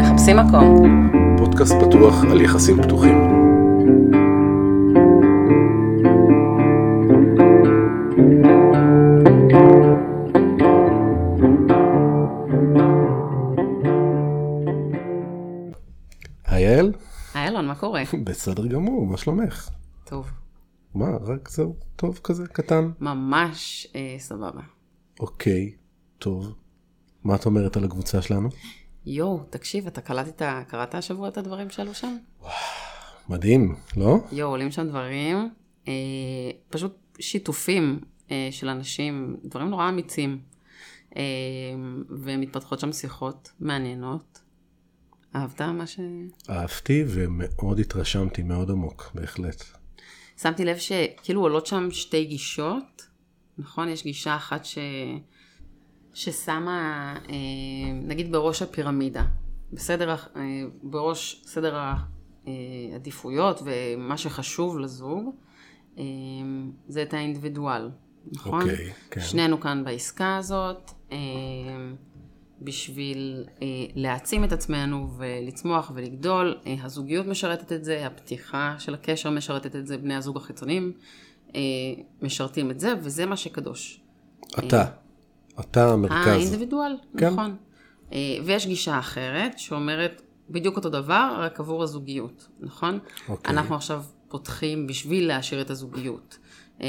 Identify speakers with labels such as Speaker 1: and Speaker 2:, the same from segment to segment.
Speaker 1: מחפשים מקום.
Speaker 2: פודקאסט פתוח על יחסים פתוחים. היי יעל?
Speaker 1: היי אלון, מה קורה?
Speaker 2: בסדר גמור, מה שלומך?
Speaker 1: טוב,
Speaker 2: מה, רק זהו, טוב כזה, קטן.
Speaker 1: ממש אה, סבבה.
Speaker 2: אוקיי, טוב. מה את אומרת על הקבוצה שלנו?
Speaker 1: יואו, תקשיב, אתה קלטת, קראת השבוע את הדברים שעלו שם?
Speaker 2: מדהים, לא?
Speaker 1: יואו, עולים שם דברים, אה, פשוט שיתופים אה, של אנשים, דברים נורא אמיצים. אה, ומתפתחות שם שיחות מעניינות. אהבת מה ש...
Speaker 2: אהבתי ומאוד התרשמתי, מאוד עמוק, בהחלט.
Speaker 1: שמתי לב שכאילו עולות שם שתי גישות, נכון? יש גישה אחת ש... ששמה, אה, נגיד בראש הפירמידה, בסדר, ה- אה, בראש סדר העדיפויות ומה שחשוב לזוג, אה, זה את האינדיבידואל, נכון?
Speaker 2: אוקיי, כן.
Speaker 1: שנינו כאן בעסקה הזאת, אה, בשביל אה, להעצים את עצמנו ולצמוח ולגדול. אה, הזוגיות משרתת את זה, הפתיחה של הקשר משרתת את זה, בני הזוג החיצוניים אה, משרתים את זה, וזה מה שקדוש. אה,
Speaker 2: אתה, אתה המרכז.
Speaker 1: האינדיבידואל,
Speaker 2: כן.
Speaker 1: נכון. אה, ויש גישה אחרת שאומרת בדיוק אותו דבר, רק עבור הזוגיות, נכון?
Speaker 2: אוקיי.
Speaker 1: אנחנו עכשיו פותחים בשביל להשאיר את הזוגיות. אה,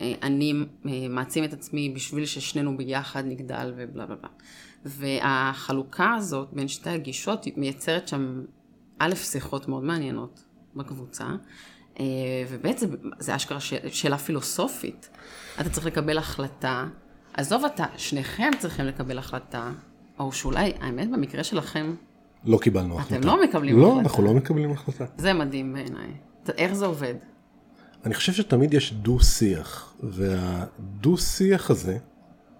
Speaker 1: אה, אני אה, מעצים את עצמי בשביל ששנינו ביחד נגדל ובלה בלה בלה. והחלוקה הזאת בין שתי הגישות היא מייצרת שם, א', שיחות מאוד מעניינות בקבוצה, אה, וב', זה, זה אשכרה ש, שאלה פילוסופית. אתה צריך לקבל החלטה, עזוב אתה, שניכם צריכים לקבל החלטה, או שאולי, האמת, במקרה שלכם,
Speaker 2: לא קיבלנו החלטה.
Speaker 1: לא מקבלים
Speaker 2: לא,
Speaker 1: החלטה.
Speaker 2: אנחנו לא מקבלים החלטה.
Speaker 1: זה מדהים בעיניי. ת- איך זה עובד?
Speaker 2: אני חושב שתמיד יש דו-שיח, והדו-שיח הזה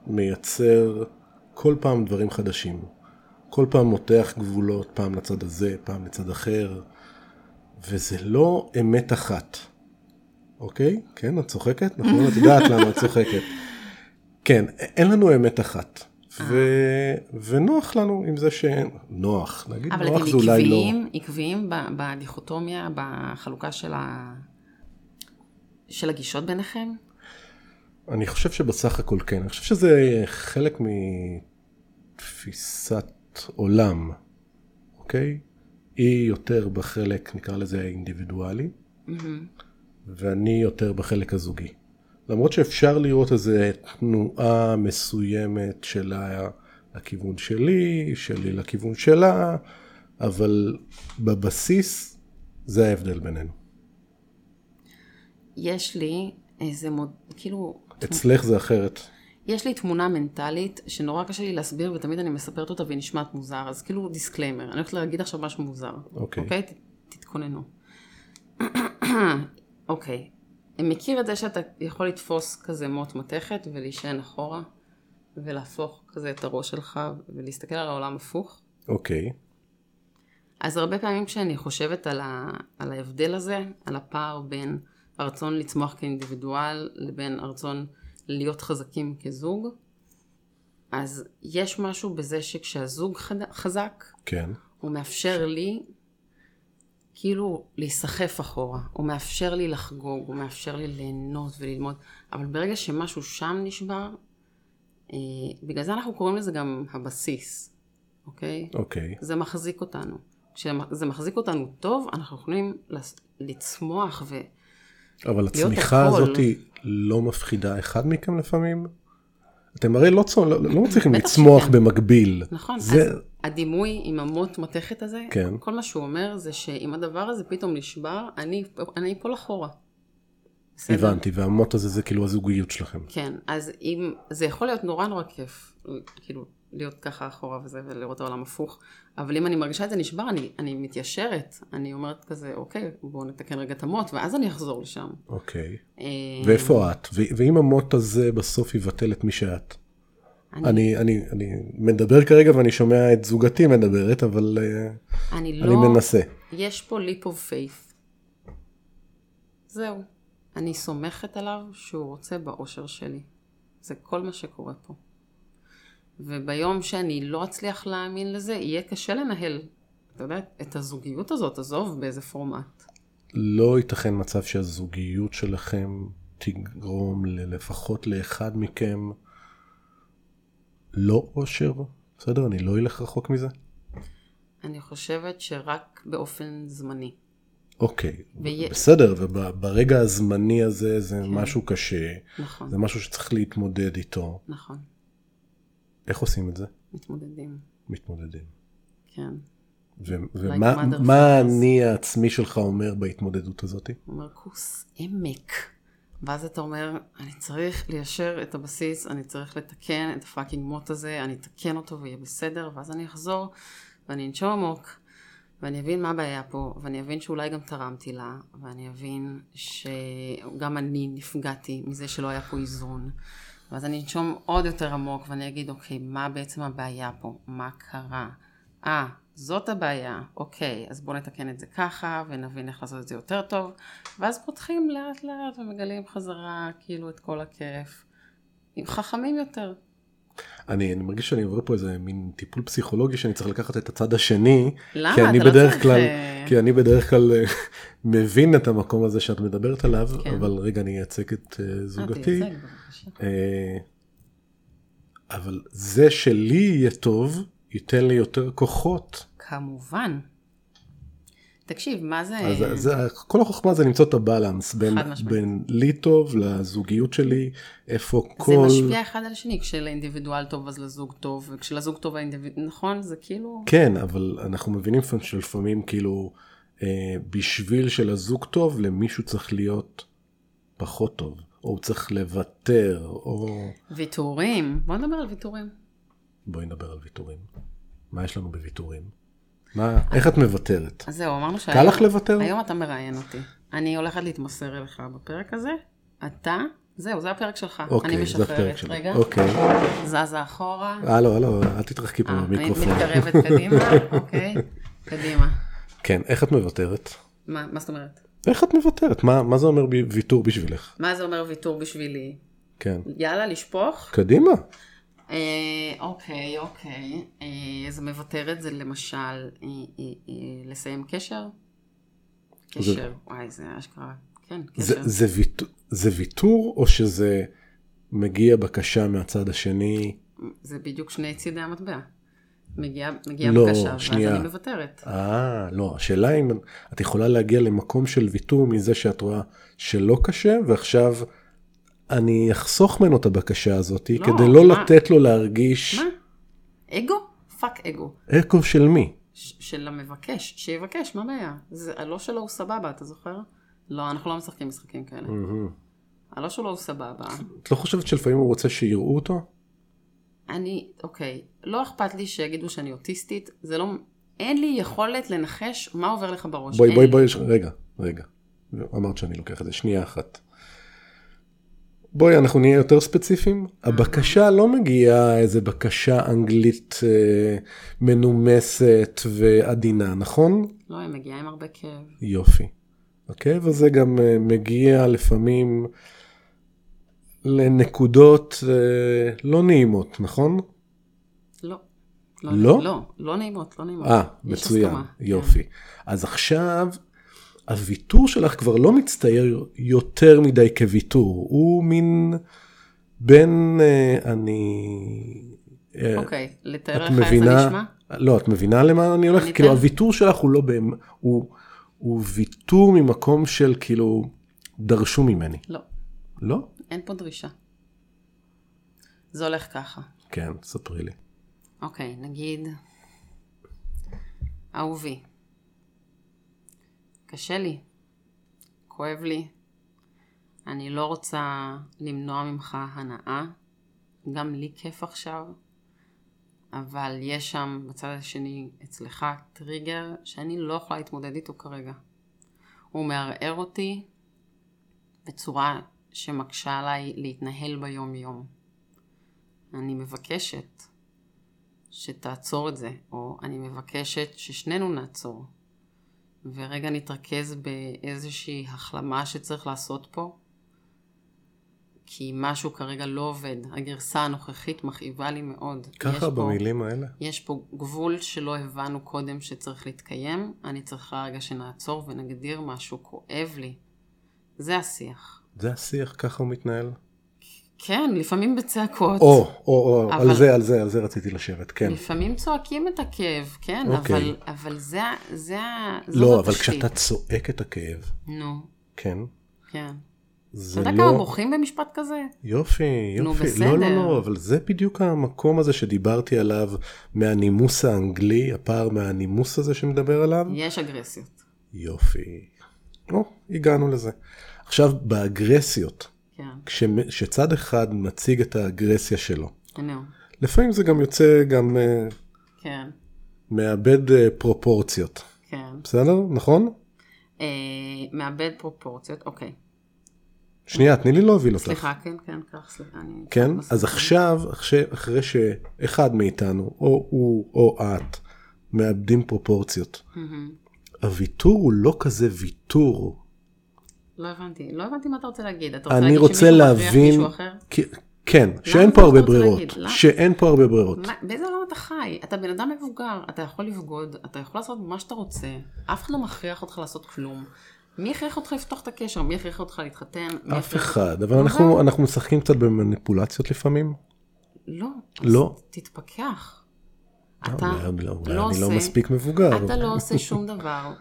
Speaker 2: מייצר כל פעם דברים חדשים. כל פעם מותח גבולות, פעם לצד הזה, פעם לצד אחר, וזה לא אמת אחת. אוקיי? כן, את צוחקת? נכון, את יודעת למה את צוחקת. כן, א- אין לנו אמת אחת. ו... ונוח לנו עם זה שאין, נוח, נגיד
Speaker 1: אבל
Speaker 2: נוח
Speaker 1: אתם
Speaker 2: זה אולי לא.
Speaker 1: עקביים, עקביים ב- בדיכוטומיה, בחלוקה של, ה... של הגישות ביניכם?
Speaker 2: אני חושב שבסך הכל כן. אני חושב שזה חלק מתפיסת עולם, אוקיי? היא יותר בחלק, נקרא לזה האינדיבידואלי, ואני יותר בחלק הזוגי. למרות שאפשר לראות איזו תנועה מסוימת שלה לכיוון שלי, שלי לכיוון שלה, אבל בבסיס זה ההבדל בינינו.
Speaker 1: יש לי איזה מוד... כאילו...
Speaker 2: אצלך זה אחרת.
Speaker 1: יש לי תמונה מנטלית שנורא קשה לי להסביר ותמיד אני מספרת אותה והיא נשמעת מוזר, אז כאילו דיסקליימר, אני הולכת להגיד עכשיו משהו מוזר.
Speaker 2: אוקיי.
Speaker 1: אוקיי? ת- תתכוננו. אוקיי. מכיר את זה שאתה יכול לתפוס כזה מוט מתכת ולהישען אחורה ולהפוך כזה את הראש שלך ולהסתכל על העולם הפוך?
Speaker 2: אוקיי,
Speaker 1: אז הרבה פעמים כשאני חושבת על, ה, על ההבדל הזה, על הפער בין הרצון לצמוח כאינדיבידואל לבין הרצון להיות חזקים כזוג, אז יש משהו בזה שכשהזוג חד- חזק,
Speaker 2: כן.
Speaker 1: הוא מאפשר לי כאילו להיסחף אחורה, הוא מאפשר לי לחגוג, הוא מאפשר לי ליהנות וללמוד, אבל ברגע שמשהו שם נשבר, אה, בגלל זה אנחנו קוראים לזה גם הבסיס, אוקיי?
Speaker 2: אוקיי.
Speaker 1: זה מחזיק אותנו. כשזה מחזיק אותנו טוב, אנחנו יכולים לס- לצמוח ו...
Speaker 2: אבל
Speaker 1: להיות
Speaker 2: הצמיחה
Speaker 1: הכל.
Speaker 2: הזאת היא לא מפחידה אחד מכם לפעמים? אתם הרי לא, צ- לא, לא מצליחים
Speaker 1: בטח
Speaker 2: לצמוח
Speaker 1: שכן.
Speaker 2: במקביל.
Speaker 1: נכון, זה...
Speaker 2: זה,
Speaker 1: אז הדימוי עם המוט מתכת הזה,
Speaker 2: כן.
Speaker 1: כל מה שהוא אומר זה שאם הדבר הזה פתאום נשבר, אני אני אפול אחורה. בסדר?
Speaker 2: הבנתי, והמוט הזה זה כאילו הזוגיות שלכם.
Speaker 1: כן, אז אם, זה יכול להיות נורא נורא כיף, כאילו, להיות ככה אחורה וזה, ולראות את העולם הפוך, אבל אם אני מרגישה את זה נשבר, אני, אני מתיישרת, אני אומרת כזה, אוקיי, בואו נתקן רגע את המוט, ואז אני אחזור לשם.
Speaker 2: אוקיי.
Speaker 1: אה,
Speaker 2: ואיפה את? ו- ואם המוט הזה בסוף יבטל את מי שאת?
Speaker 1: אני, אני,
Speaker 2: אני, אני, אני מדבר כרגע ואני שומע את זוגתי מדברת, אבל אה,
Speaker 1: אני לא,
Speaker 2: אני מנסה.
Speaker 1: יש פה leap of faith. זהו. אני סומכת עליו שהוא רוצה באושר שלי. זה כל מה שקורה פה. וביום שאני לא אצליח להאמין לזה, יהיה קשה לנהל, אתה יודע, את הזוגיות הזאת, עזוב באיזה פורמט.
Speaker 2: לא ייתכן מצב שהזוגיות שלכם תגרום ל- לפחות לאחד מכם לא אושר, בסדר? אני לא אלך רחוק מזה.
Speaker 1: אני חושבת שרק באופן זמני.
Speaker 2: אוקיי,
Speaker 1: ויה-
Speaker 2: בסדר, וברגע הזמני הזה זה משהו קשה,
Speaker 1: נכון,
Speaker 2: זה משהו שצריך להתמודד איתו.
Speaker 1: נכון.
Speaker 2: איך עושים את זה?
Speaker 1: מתמודדים,
Speaker 2: מתמודדים.
Speaker 1: כן.
Speaker 2: ו-
Speaker 1: mother
Speaker 2: ומה מה
Speaker 1: fuckers.
Speaker 2: האני העצמי שלך אומר בהתמודדות הזאת?
Speaker 1: הוא אומר, כוס עמק. ואז אתה אומר, אני צריך ליישר את הבסיס, אני צריך לתקן את הפאקינג מוט הזה, אני אתקן אותו ויהיה בסדר, ואז אני אחזור, ואני אנשום עמוק, ואני אבין מה הבעיה פה, ואני אבין שאולי גם תרמתי לה, ואני אבין שגם אני נפגעתי מזה שלא היה פה איזון. ואז אני אנשום עוד יותר עמוק, ואני אגיד, אוקיי, מה בעצם הבעיה פה? מה קרה? אה, זאת הבעיה, אוקיי, אז בואו נתקן את זה ככה, ונבין איך לעשות את זה יותר טוב, ואז פותחים לאט לאט ומגלים חזרה, כאילו, את כל הכיף. עם חכמים יותר.
Speaker 2: אני, אני מרגיש שאני עובר פה איזה מין טיפול פסיכולוגי שאני צריך לקחת את הצד השני,
Speaker 1: למה?
Speaker 2: כי אני
Speaker 1: אתה לא
Speaker 2: בדרך
Speaker 1: צריך,
Speaker 2: כלל,
Speaker 1: אה,
Speaker 2: כן. כי אני בדרך כלל אה, מבין את המקום הזה שאת מדברת עליו,
Speaker 1: כן.
Speaker 2: אבל רגע אני אייצג את אה,
Speaker 1: אה,
Speaker 2: זוגתי.
Speaker 1: תייצג, בבקשה.
Speaker 2: אה, אבל זה שלי יהיה טוב, ייתן לי יותר כוחות.
Speaker 1: כמובן. תקשיב, מה זה...
Speaker 2: אז זה, כל החוכמה זה למצוא את הבלנס בין,
Speaker 1: כן. חד משמעית.
Speaker 2: בין לי טוב לזוגיות שלי, איפה כל...
Speaker 1: זה משפיע אחד על השני, כשלאינדיבידואל טוב אז לזוג טוב, וכשלזוג טוב האינדיבידואל, נכון? זה כאילו...
Speaker 2: כן, אבל אנחנו מבינים לפעמים שלפעמים כאילו אה, בשביל שלזוג טוב, למישהו צריך להיות פחות טוב, או הוא צריך לוותר, או...
Speaker 1: ויתורים, בוא נדבר על ויתורים.
Speaker 2: בואי נדבר על ויתורים. מה יש לנו בוויתורים? מה, איך את מוותרת?
Speaker 1: אז זהו, אמרנו שהיום...
Speaker 2: קל לך לוותר?
Speaker 1: היום אתה מראיין אותי. אני הולכת להתמסר אליך בפרק הזה. אתה, זהו, זה הפרק שלך. אני
Speaker 2: אוקיי, זה הפרק
Speaker 1: משחררת.
Speaker 2: שלי.
Speaker 1: רגע,
Speaker 2: אוקיי. אה,
Speaker 1: זזה אחורה.
Speaker 2: הלו, הלו, אל תתרחקי פה
Speaker 1: אה, אני
Speaker 2: מהמיקרופון.
Speaker 1: מתקרבת קדימה, אוקיי. קדימה.
Speaker 2: כן, איך את מוותרת?
Speaker 1: מה מה זאת אומרת?
Speaker 2: איך את מוותרת? מה מה זה אומר ב- ויתור בשבילך?
Speaker 1: מה זה אומר ויתור בשבילי?
Speaker 2: כן.
Speaker 1: יאללה, לשפוך?
Speaker 2: קדימה.
Speaker 1: אה, אוקיי, אוקיי. אה, אז מוותרת זה למשל אה, אה, אה, לסיים קשר? קשר, וואי, זה אשכרה. כן,
Speaker 2: זה-
Speaker 1: קשר.
Speaker 2: זה ויתור- זה ויתור או שזה מגיע בקשה מהצד השני?
Speaker 1: זה בדיוק שני צידי המטבע. מגיעה מגיע
Speaker 2: לא,
Speaker 1: בקשה, ואז
Speaker 2: שנייה.
Speaker 1: אני מוותרת.
Speaker 2: אה, לא, השאלה אם את יכולה להגיע למקום של ויתור מזה שאת רואה שלא קשה, ועכשיו אני אחסוך ממנו את הבקשה הזאת
Speaker 1: לא,
Speaker 2: כדי לא
Speaker 1: מה?
Speaker 2: לתת לו להרגיש
Speaker 1: מה? אגו? פאק אגו.
Speaker 2: אקו של מי.
Speaker 1: ש- של המבקש, שיבקש, מה הבעיה? זה- הלא שלו הוא סבבה, אתה זוכר? לא, אנחנו לא משחקים משחקים כאלה.
Speaker 2: מהמם.
Speaker 1: הלא שלו הוא סבבה.
Speaker 2: את לא חושבת שלפעמים הוא רוצה שיראו אותו?
Speaker 1: אני, אוקיי, לא אכפת לי שיגידו שאני אוטיסטית, זה לא... אין לי יכולת לנחש מה עובר לך בראש.
Speaker 2: בואי
Speaker 1: אין
Speaker 2: בואי
Speaker 1: לי.
Speaker 2: בואי, ש- רגע, רגע. אמרת שאני לוקח את זה, שנייה אחת. בואי, אנחנו נהיה יותר ספציפיים. הבקשה לא מגיעה איזה בקשה אנגלית אה, מנומסת ועדינה, נכון?
Speaker 1: לא, היא מגיעה עם הרבה כאב.
Speaker 2: יופי. הכאב הזה גם אה, מגיע לפעמים לנקודות אה, לא נעימות, נכון?
Speaker 1: לא. לא?
Speaker 2: לא?
Speaker 1: לא, לא נעימות, לא נעימות.
Speaker 2: אה,
Speaker 1: יש
Speaker 2: מצוין,
Speaker 1: הסכמה. כן.
Speaker 2: יופי. אז עכשיו, הוויתור שלך כבר לא מצטייר יותר מדי כוויתור, הוא מין בין אה, אני... אה,
Speaker 1: אוקיי, לתאר
Speaker 2: את
Speaker 1: לך איך זה נשמע?
Speaker 2: מבינה, לא, את מבינה למה אני הולך?
Speaker 1: אני כן.
Speaker 2: כאילו,
Speaker 1: אתן-
Speaker 2: הוויתור שלך הוא לא באמת, הוא, הוא ויתור ממקום של כאילו, דרשו ממני.
Speaker 1: לא,
Speaker 2: לא?
Speaker 1: אין פה דרישה. זה הולך ככה.
Speaker 2: כן, ספרי לי.
Speaker 1: אוקיי, נגיד, אהובי, קשה לי, כואב לי, אני לא רוצה למנוע ממך הנאה, גם לי כיף עכשיו, אבל יש שם בצד השני אצלך טריגר שאני לא יכולה להתמודד איתו כרגע. הוא מערער אותי בצורה שמקשה עליי להתנהל ביום יום. אני מבקשת שתעצור את זה, או אני מבקשת ששנינו נעצור. ורגע נתרכז באיזושהי החלמה שצריך לעשות פה, כי משהו כרגע לא עובד. הגרסה הנוכחית מכאיבה לי מאוד. יש
Speaker 2: ככה
Speaker 1: פה-
Speaker 2: במילים האלה?
Speaker 1: יש פה גבול שלא הבנו קודם שצריך להתקיים, אני צריכה רגע שנעצור ונגדיר משהו כואב לי. זה השיח.
Speaker 2: זה השיח, ככה הוא מתנהל?
Speaker 1: כן, לפעמים בצעקות.
Speaker 2: או, או, או,
Speaker 1: אבל-
Speaker 2: על זה, על זה, על זה רציתי לשבת, כן.
Speaker 1: לפעמים צועקים את הכאב, כן,
Speaker 2: אוקיי.
Speaker 1: אבל, אבל זה, ה- זה, ה- זאת
Speaker 2: לא, אבל
Speaker 1: התשתית.
Speaker 2: כשאתה צועק את הכאב,
Speaker 1: נו,
Speaker 2: כן,
Speaker 1: כן. אתה
Speaker 2: זה
Speaker 1: יודע כמה
Speaker 2: לא...
Speaker 1: בוכים במשפט כזה?
Speaker 2: יופי,
Speaker 1: נו,
Speaker 2: יופי.
Speaker 1: בסדר.
Speaker 2: לא, לא, לא, אבל זה בדיוק המקום הזה שדיברתי עליו מהנימוס האנגלי, הפער מהנימוס הזה שמדבר עליו.
Speaker 1: יש אגרסיות,
Speaker 2: יופי. או, הגענו לזה. עכשיו, באגרסיות,
Speaker 1: כן.
Speaker 2: כשצד אחד מציג את האגרסיה שלו,
Speaker 1: נו,
Speaker 2: לפעמים זה גם יוצא, גם אה,
Speaker 1: כן,
Speaker 2: מאבד אה, פרופורציות.
Speaker 1: כן.
Speaker 2: בסדר? נכון?
Speaker 1: אה, מאבד פרופורציות, אוקיי.
Speaker 2: שנייה, תני לי להוביל אותך.
Speaker 1: סליחה, כן, כן, כך, סליחה. אני-
Speaker 2: כן?
Speaker 1: בסדר.
Speaker 2: אז עכשיו, אחרי- אחרי שאחד מאיתנו, או הוא או את, מאבדים פרופורציות,
Speaker 1: מהמם.
Speaker 2: הוויתור הוא לא כזה ויתור.
Speaker 1: לא הבנתי, לא הבנתי מה אתה רוצה להגיד. אתה רוצה
Speaker 2: אני
Speaker 1: להגיד
Speaker 2: רוצה
Speaker 1: שמישהו מכריח
Speaker 2: להבין...
Speaker 1: מישהו אחר?
Speaker 2: כי- כן, שאין
Speaker 1: זה אתה
Speaker 2: פה הרבה
Speaker 1: רוצה
Speaker 2: ברירות.
Speaker 1: להגיד? למה?
Speaker 2: שאין פה הרבה ברירות.
Speaker 1: מה- באיזה עולם אתה חי? אתה בן אדם מבוגר, אתה יכול לבגוד, אתה יכול לעשות מה שאתה רוצה, אף אחד לא מכריח אותך לעשות כלום. מי הכריח אותך לפתוח את הקשר? מי הכריח אותך להתחתן? מי
Speaker 2: אף
Speaker 1: הכריח-
Speaker 2: אחד, אבל אנחנו אנחנו משחקים קצת במניפולציות לפעמים.
Speaker 1: לא.
Speaker 2: לא.
Speaker 1: אז תתפכח. אתה
Speaker 2: אולי אולי- אולי
Speaker 1: לא
Speaker 2: אני לא
Speaker 1: עושה-
Speaker 2: מספיק מבוגר.
Speaker 1: אתה לא עושה שום דבר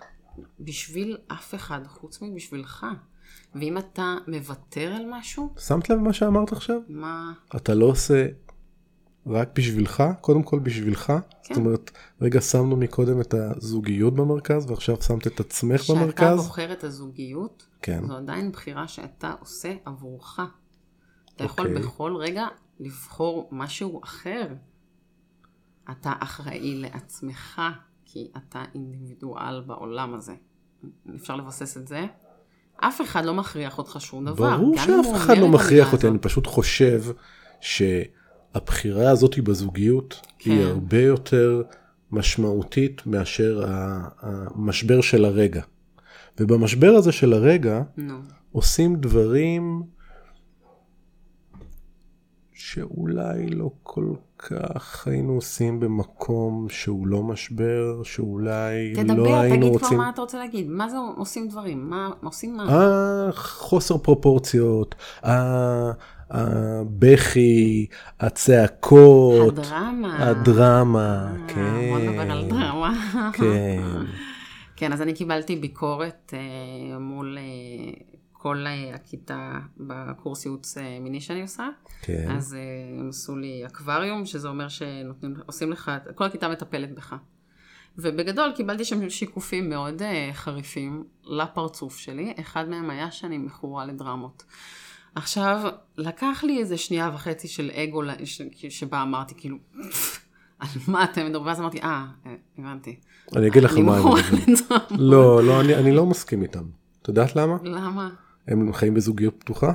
Speaker 1: בשביל אף אחד חוץ מבשבילך. ואם אתה מוותר על משהו,
Speaker 2: שמת לב מה שאמרת עכשיו?
Speaker 1: מה...
Speaker 2: אתה לא עושה רק בשבילך, קודם כל בשבילך.
Speaker 1: כן.
Speaker 2: זאת אומרת, רגע שמנו מקודם את הזוגיות במרכז, ועכשיו שמת את עצמך
Speaker 1: כשאתה
Speaker 2: במרכז.
Speaker 1: בוחר את הזוגיות,
Speaker 2: כן.
Speaker 1: זו עדיין בחירה שאתה עושה עבורך. אתה יכול
Speaker 2: אוקיי.
Speaker 1: בכל רגע לבחור משהו אחר. אתה אחראי לעצמך, כי אתה אינדיבידואל בעולם הזה. אפשר לבסס את זה? אף אחד לא מכריח אותך שום דבר.
Speaker 2: ברור
Speaker 1: גם אם הוא
Speaker 2: שאף
Speaker 1: אומר
Speaker 2: אחד
Speaker 1: את
Speaker 2: לא
Speaker 1: המילה
Speaker 2: מכריח אותי,
Speaker 1: הזאת.
Speaker 2: אני פשוט חושב שהבחירה הזאת בזוגיות
Speaker 1: כן.
Speaker 2: היא הרבה יותר משמעותית מאשר ה- המשבר של הרגע. ובמשבר הזה של הרגע
Speaker 1: נו,
Speaker 2: עושים דברים שאולי לא כל כך היינו עושים במקום שהוא לא משבר, שאולי לא
Speaker 1: תדבר,
Speaker 2: היינו
Speaker 1: תגיד כבר
Speaker 2: רוצים... אה,
Speaker 1: מה אתה רוצה להגיד. מה זה עושים דברים? מה עושים מה?
Speaker 2: החוסר פרופורציות, ה- הבכי, הצעקות,
Speaker 1: הדרמה.
Speaker 2: הדרמה,
Speaker 1: אה,
Speaker 2: כן.
Speaker 1: בוא נדבר על דרמה.
Speaker 2: כן.
Speaker 1: כן, אז אני קיבלתי ביקורת אה, מול אה, כל אה, הכיתה בקורס ייעוץ אה, מיני שאני עושה.
Speaker 2: כן.
Speaker 1: אז אה, הם עשו לי אקווריום, שזה אומר שעושים לך, כל הכיתה מטפלת בך. ובגדול קיבלתי שם שיקופים מאוד אה, חריפים לפרצוף שלי, אחד מהם היה שאני מכורה לדרמות. עכשיו, לקח לי איזה שנייה וחצי של אגו, ל- ש- שבה אמרתי כאילו, על מה אתם מדברים? ואז אמרתי, אה, אה, הבנתי.
Speaker 2: אני אגיד לך
Speaker 1: אני
Speaker 2: מה הם
Speaker 1: מכורה
Speaker 2: אומרים.
Speaker 1: לדרמות.
Speaker 2: לא, לא, אני- אני לא מסכים איתם. את יודעת למה?
Speaker 1: למה?
Speaker 2: הם חיים בזוגיות פתוחה?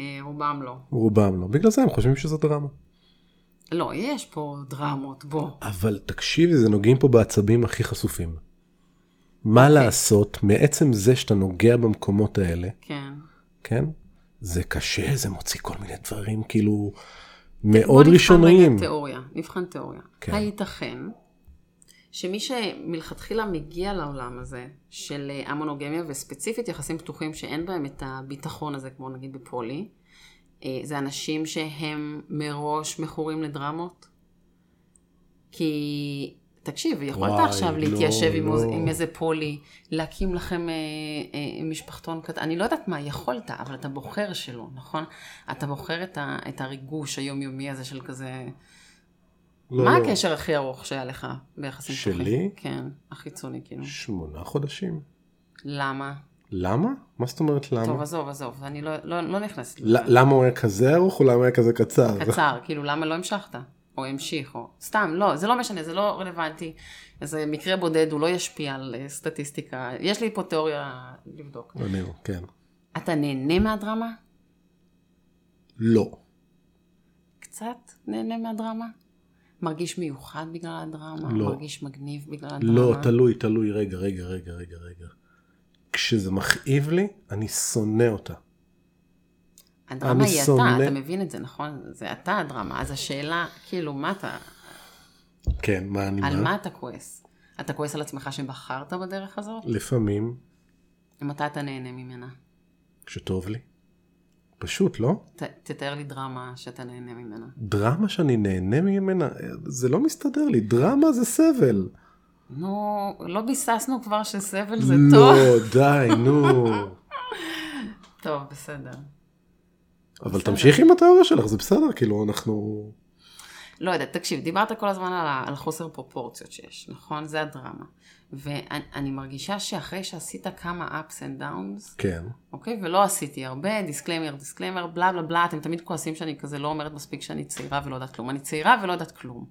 Speaker 1: אה, רובם לא.
Speaker 2: רובם לא. בגלל זה הם חושבים שזו דרמה.
Speaker 1: לא, יש פה דרמות, בוא.
Speaker 2: אבל תקשיבי, זה נוגעים פה בעצבים הכי חשופים. מה
Speaker 1: אוקיי.
Speaker 2: לעשות, מעצם זה שאתה נוגע במקומות האלה,
Speaker 1: כן.
Speaker 2: כן? זה קשה, זה מוציא כל מיני דברים כאילו
Speaker 1: בוא
Speaker 2: מאוד
Speaker 1: נבחן
Speaker 2: ראשוניים.
Speaker 1: רגע תיאוריה, נבחן תיאוריה.
Speaker 2: כן.
Speaker 1: כן. הייתכן שמי שמלכתחילה מגיע לעולם הזה של אה, המונוגמיה וספציפית יחסים פתוחים שאין בהם את הביטחון הזה, כמו נגיד בפולי, אה, זה אנשים שהם מראש מכורים לדרמות? כי... תקשיב, יכולת
Speaker 2: וואי,
Speaker 1: עכשיו
Speaker 2: לא,
Speaker 1: להתיישב עם,
Speaker 2: לא.
Speaker 1: אוז- עם איזה פולי, להקים לכם אה, אה, משפחתון קטן, אני לא יודעת מה, יכולת, אבל אתה בוחר שלא, נכון? אתה בוחר את, ה, את הריגוש היומיומי הזה של כזה...
Speaker 2: לא,
Speaker 1: מה
Speaker 2: לא.
Speaker 1: הקשר הכי ארוך שהיה לך ביחסים
Speaker 2: שלי?
Speaker 1: פתוחים? כן, החיצוני כאילו.
Speaker 2: שמונה חודשים.
Speaker 1: למה?
Speaker 2: למה? מה זאת אומרת
Speaker 1: טוב,
Speaker 2: למה?
Speaker 1: עזוב, עזוב, אני לא, לא, לא נכנסת לזה.
Speaker 2: ל- למה הוא היה כזה ארוך או למה היה כזה קצר?
Speaker 1: קצר, כאילו, למה לא המשכת? או המשיך, או סתם, לא, זה לא משנה, זה לא רלוונטי. זה מקרה בודד, הוא לא ישפיע על אה, סטטיסטיקה. יש לי פה תיאוריה לבדוק.
Speaker 2: אני, כן.
Speaker 1: אתה נהנה מהדרמה?
Speaker 2: לא.
Speaker 1: קצת נהנה מהדרמה? מרגיש מיוחד בגלל הדרמה?
Speaker 2: לא.
Speaker 1: מרגיש מגניב בגלל הדרמה?
Speaker 2: לא, תלוי, תלוי, רגע, רגע, רגע, רגע, רגע. כשזה מכאיב לי, אני שונא אותה.
Speaker 1: הדרמה
Speaker 2: אני
Speaker 1: היא
Speaker 2: שונא-
Speaker 1: אתה, אתה מבין את זה, נכון? זה אתה הדרמה. אז השאלה, כאילו, מה אתה,
Speaker 2: כן, מה אני
Speaker 1: על
Speaker 2: מה?
Speaker 1: מה אתה כועס? אתה כועס על עצמך שבחרת בדרך הזאת?
Speaker 2: לא. לפעמים,
Speaker 1: מתי אתה נהנה ממנה?
Speaker 2: כשטוב לי. פשוט, לא?
Speaker 1: ת, תתאר לי דרמה שאתה נהנה ממנה.
Speaker 2: דרמה שאני נהנה ממנה, זה לא מסתדר לי, דרמה זה סבל.
Speaker 1: נו, לא ביססנו כבר שסבל זה
Speaker 2: לא,
Speaker 1: טוב.
Speaker 2: די, נו.
Speaker 1: טוב, בסדר.
Speaker 2: אבל תמשיך עם התיאוריה שלך, זה בסדר, כאילו, אנחנו...
Speaker 1: לא יודעת, תקשיב, דיברת כל הזמן על, ה- על חוסר פרופורציות שיש, נכון? זה הדרמה. ואני אני מרגישה שאחרי שעשית כמה ups and downs,
Speaker 2: כן,
Speaker 1: אוקיי? ולא עשיתי הרבה, דיסקליימר, דיסקליימר, בלה בלה בלה, אתם תמיד כועסים שאני כזה לא אומרת מספיק שאני צעירה ולא יודעת כלום. אני צעירה ולא יודעת כלום.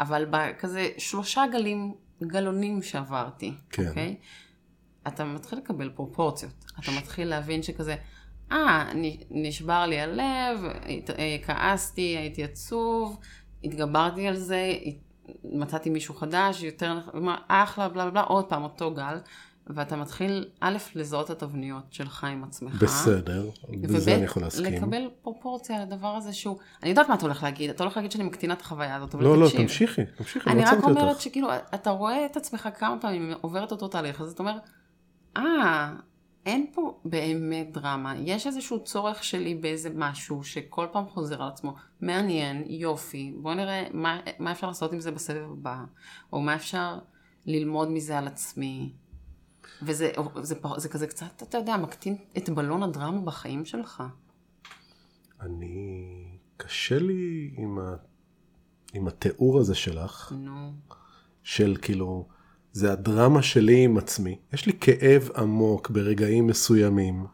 Speaker 1: אבל בכזה שלושה גלים, גלונים שעברתי,
Speaker 2: כן.
Speaker 1: אוקיי? אתה מתחיל לקבל פרופורציות. אתה מתחיל להבין שכזה, אה, נ- נשבר לי הלב, הת- אה, כעסתי, הייתי עצוב, התגברתי על זה, הת- מצאתי מישהו חדש, יותר, נח- מה, אחלה, בלה בלה בלה, עוד פעם אותו גל. ואתה מתחיל, א', לזהות את התבניות שלך עם עצמך.
Speaker 2: בסדר, בזה אני יכול להסכים.
Speaker 1: לקבל פרופורציה לדבר הזה שהוא, אני יודעת מה אתה הולך להגיד, אתה הולך להגיד שאני מקטינה את החוויה הזאת, אבל
Speaker 2: לא, לא,
Speaker 1: תקשיב.
Speaker 2: תמשיכי, תמשיכי, לא
Speaker 1: אני רק
Speaker 2: עצרתי
Speaker 1: אומרת
Speaker 2: אותך.
Speaker 1: שכאילו, אתה רואה את עצמך כמה פעמים עובר את אותו תהליך, אז אתה אומר, אה, אין פה באמת דרמה, יש איזשהו צורך שלי באיזה משהו שכל פעם חוזר על עצמו, מעניין, יופי, בוא נראה מה, מה אפשר לעשות עם זה בסבב הבא, או מה אפשר ללמוד מזה על עצמי. וזה זה, פר- זה כזה קצת, אתה יודע, מקטין את בלון הדרמה בחיים שלך.
Speaker 2: אני... קשה לי עם ה- עם התיאור הזה שלך.
Speaker 1: נו,
Speaker 2: של כאילו, זה הדרמה שלי עם עצמי. יש לי כאב עמוק ברגעים מסוימים,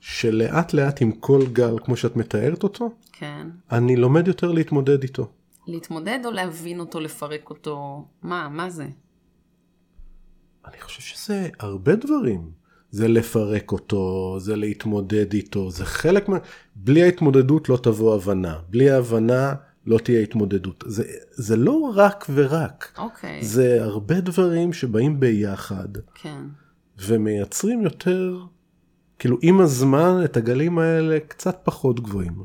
Speaker 2: שלאט לאט עם כל גל, כמו שאת מתארת אותו,
Speaker 1: כן.
Speaker 2: אני לומד יותר להתמודד איתו.
Speaker 1: להתמודד או להבין אותו, לפרק אותו, מה, מה זה?
Speaker 2: אני חושב שזה הרבה דברים. זה לפרק אותו, זה להתמודד איתו, זה חלק מה... בלי ההתמודדות לא תבוא הבנה. בלי ההבנה לא תהיה התמודדות. זה, זה לא רק ורק.
Speaker 1: אוקיי.
Speaker 2: זה הרבה דברים שבאים ביחד.
Speaker 1: כן.
Speaker 2: ומייצרים יותר, כאילו עם הזמן את הגלים האלה קצת פחות גבוהים.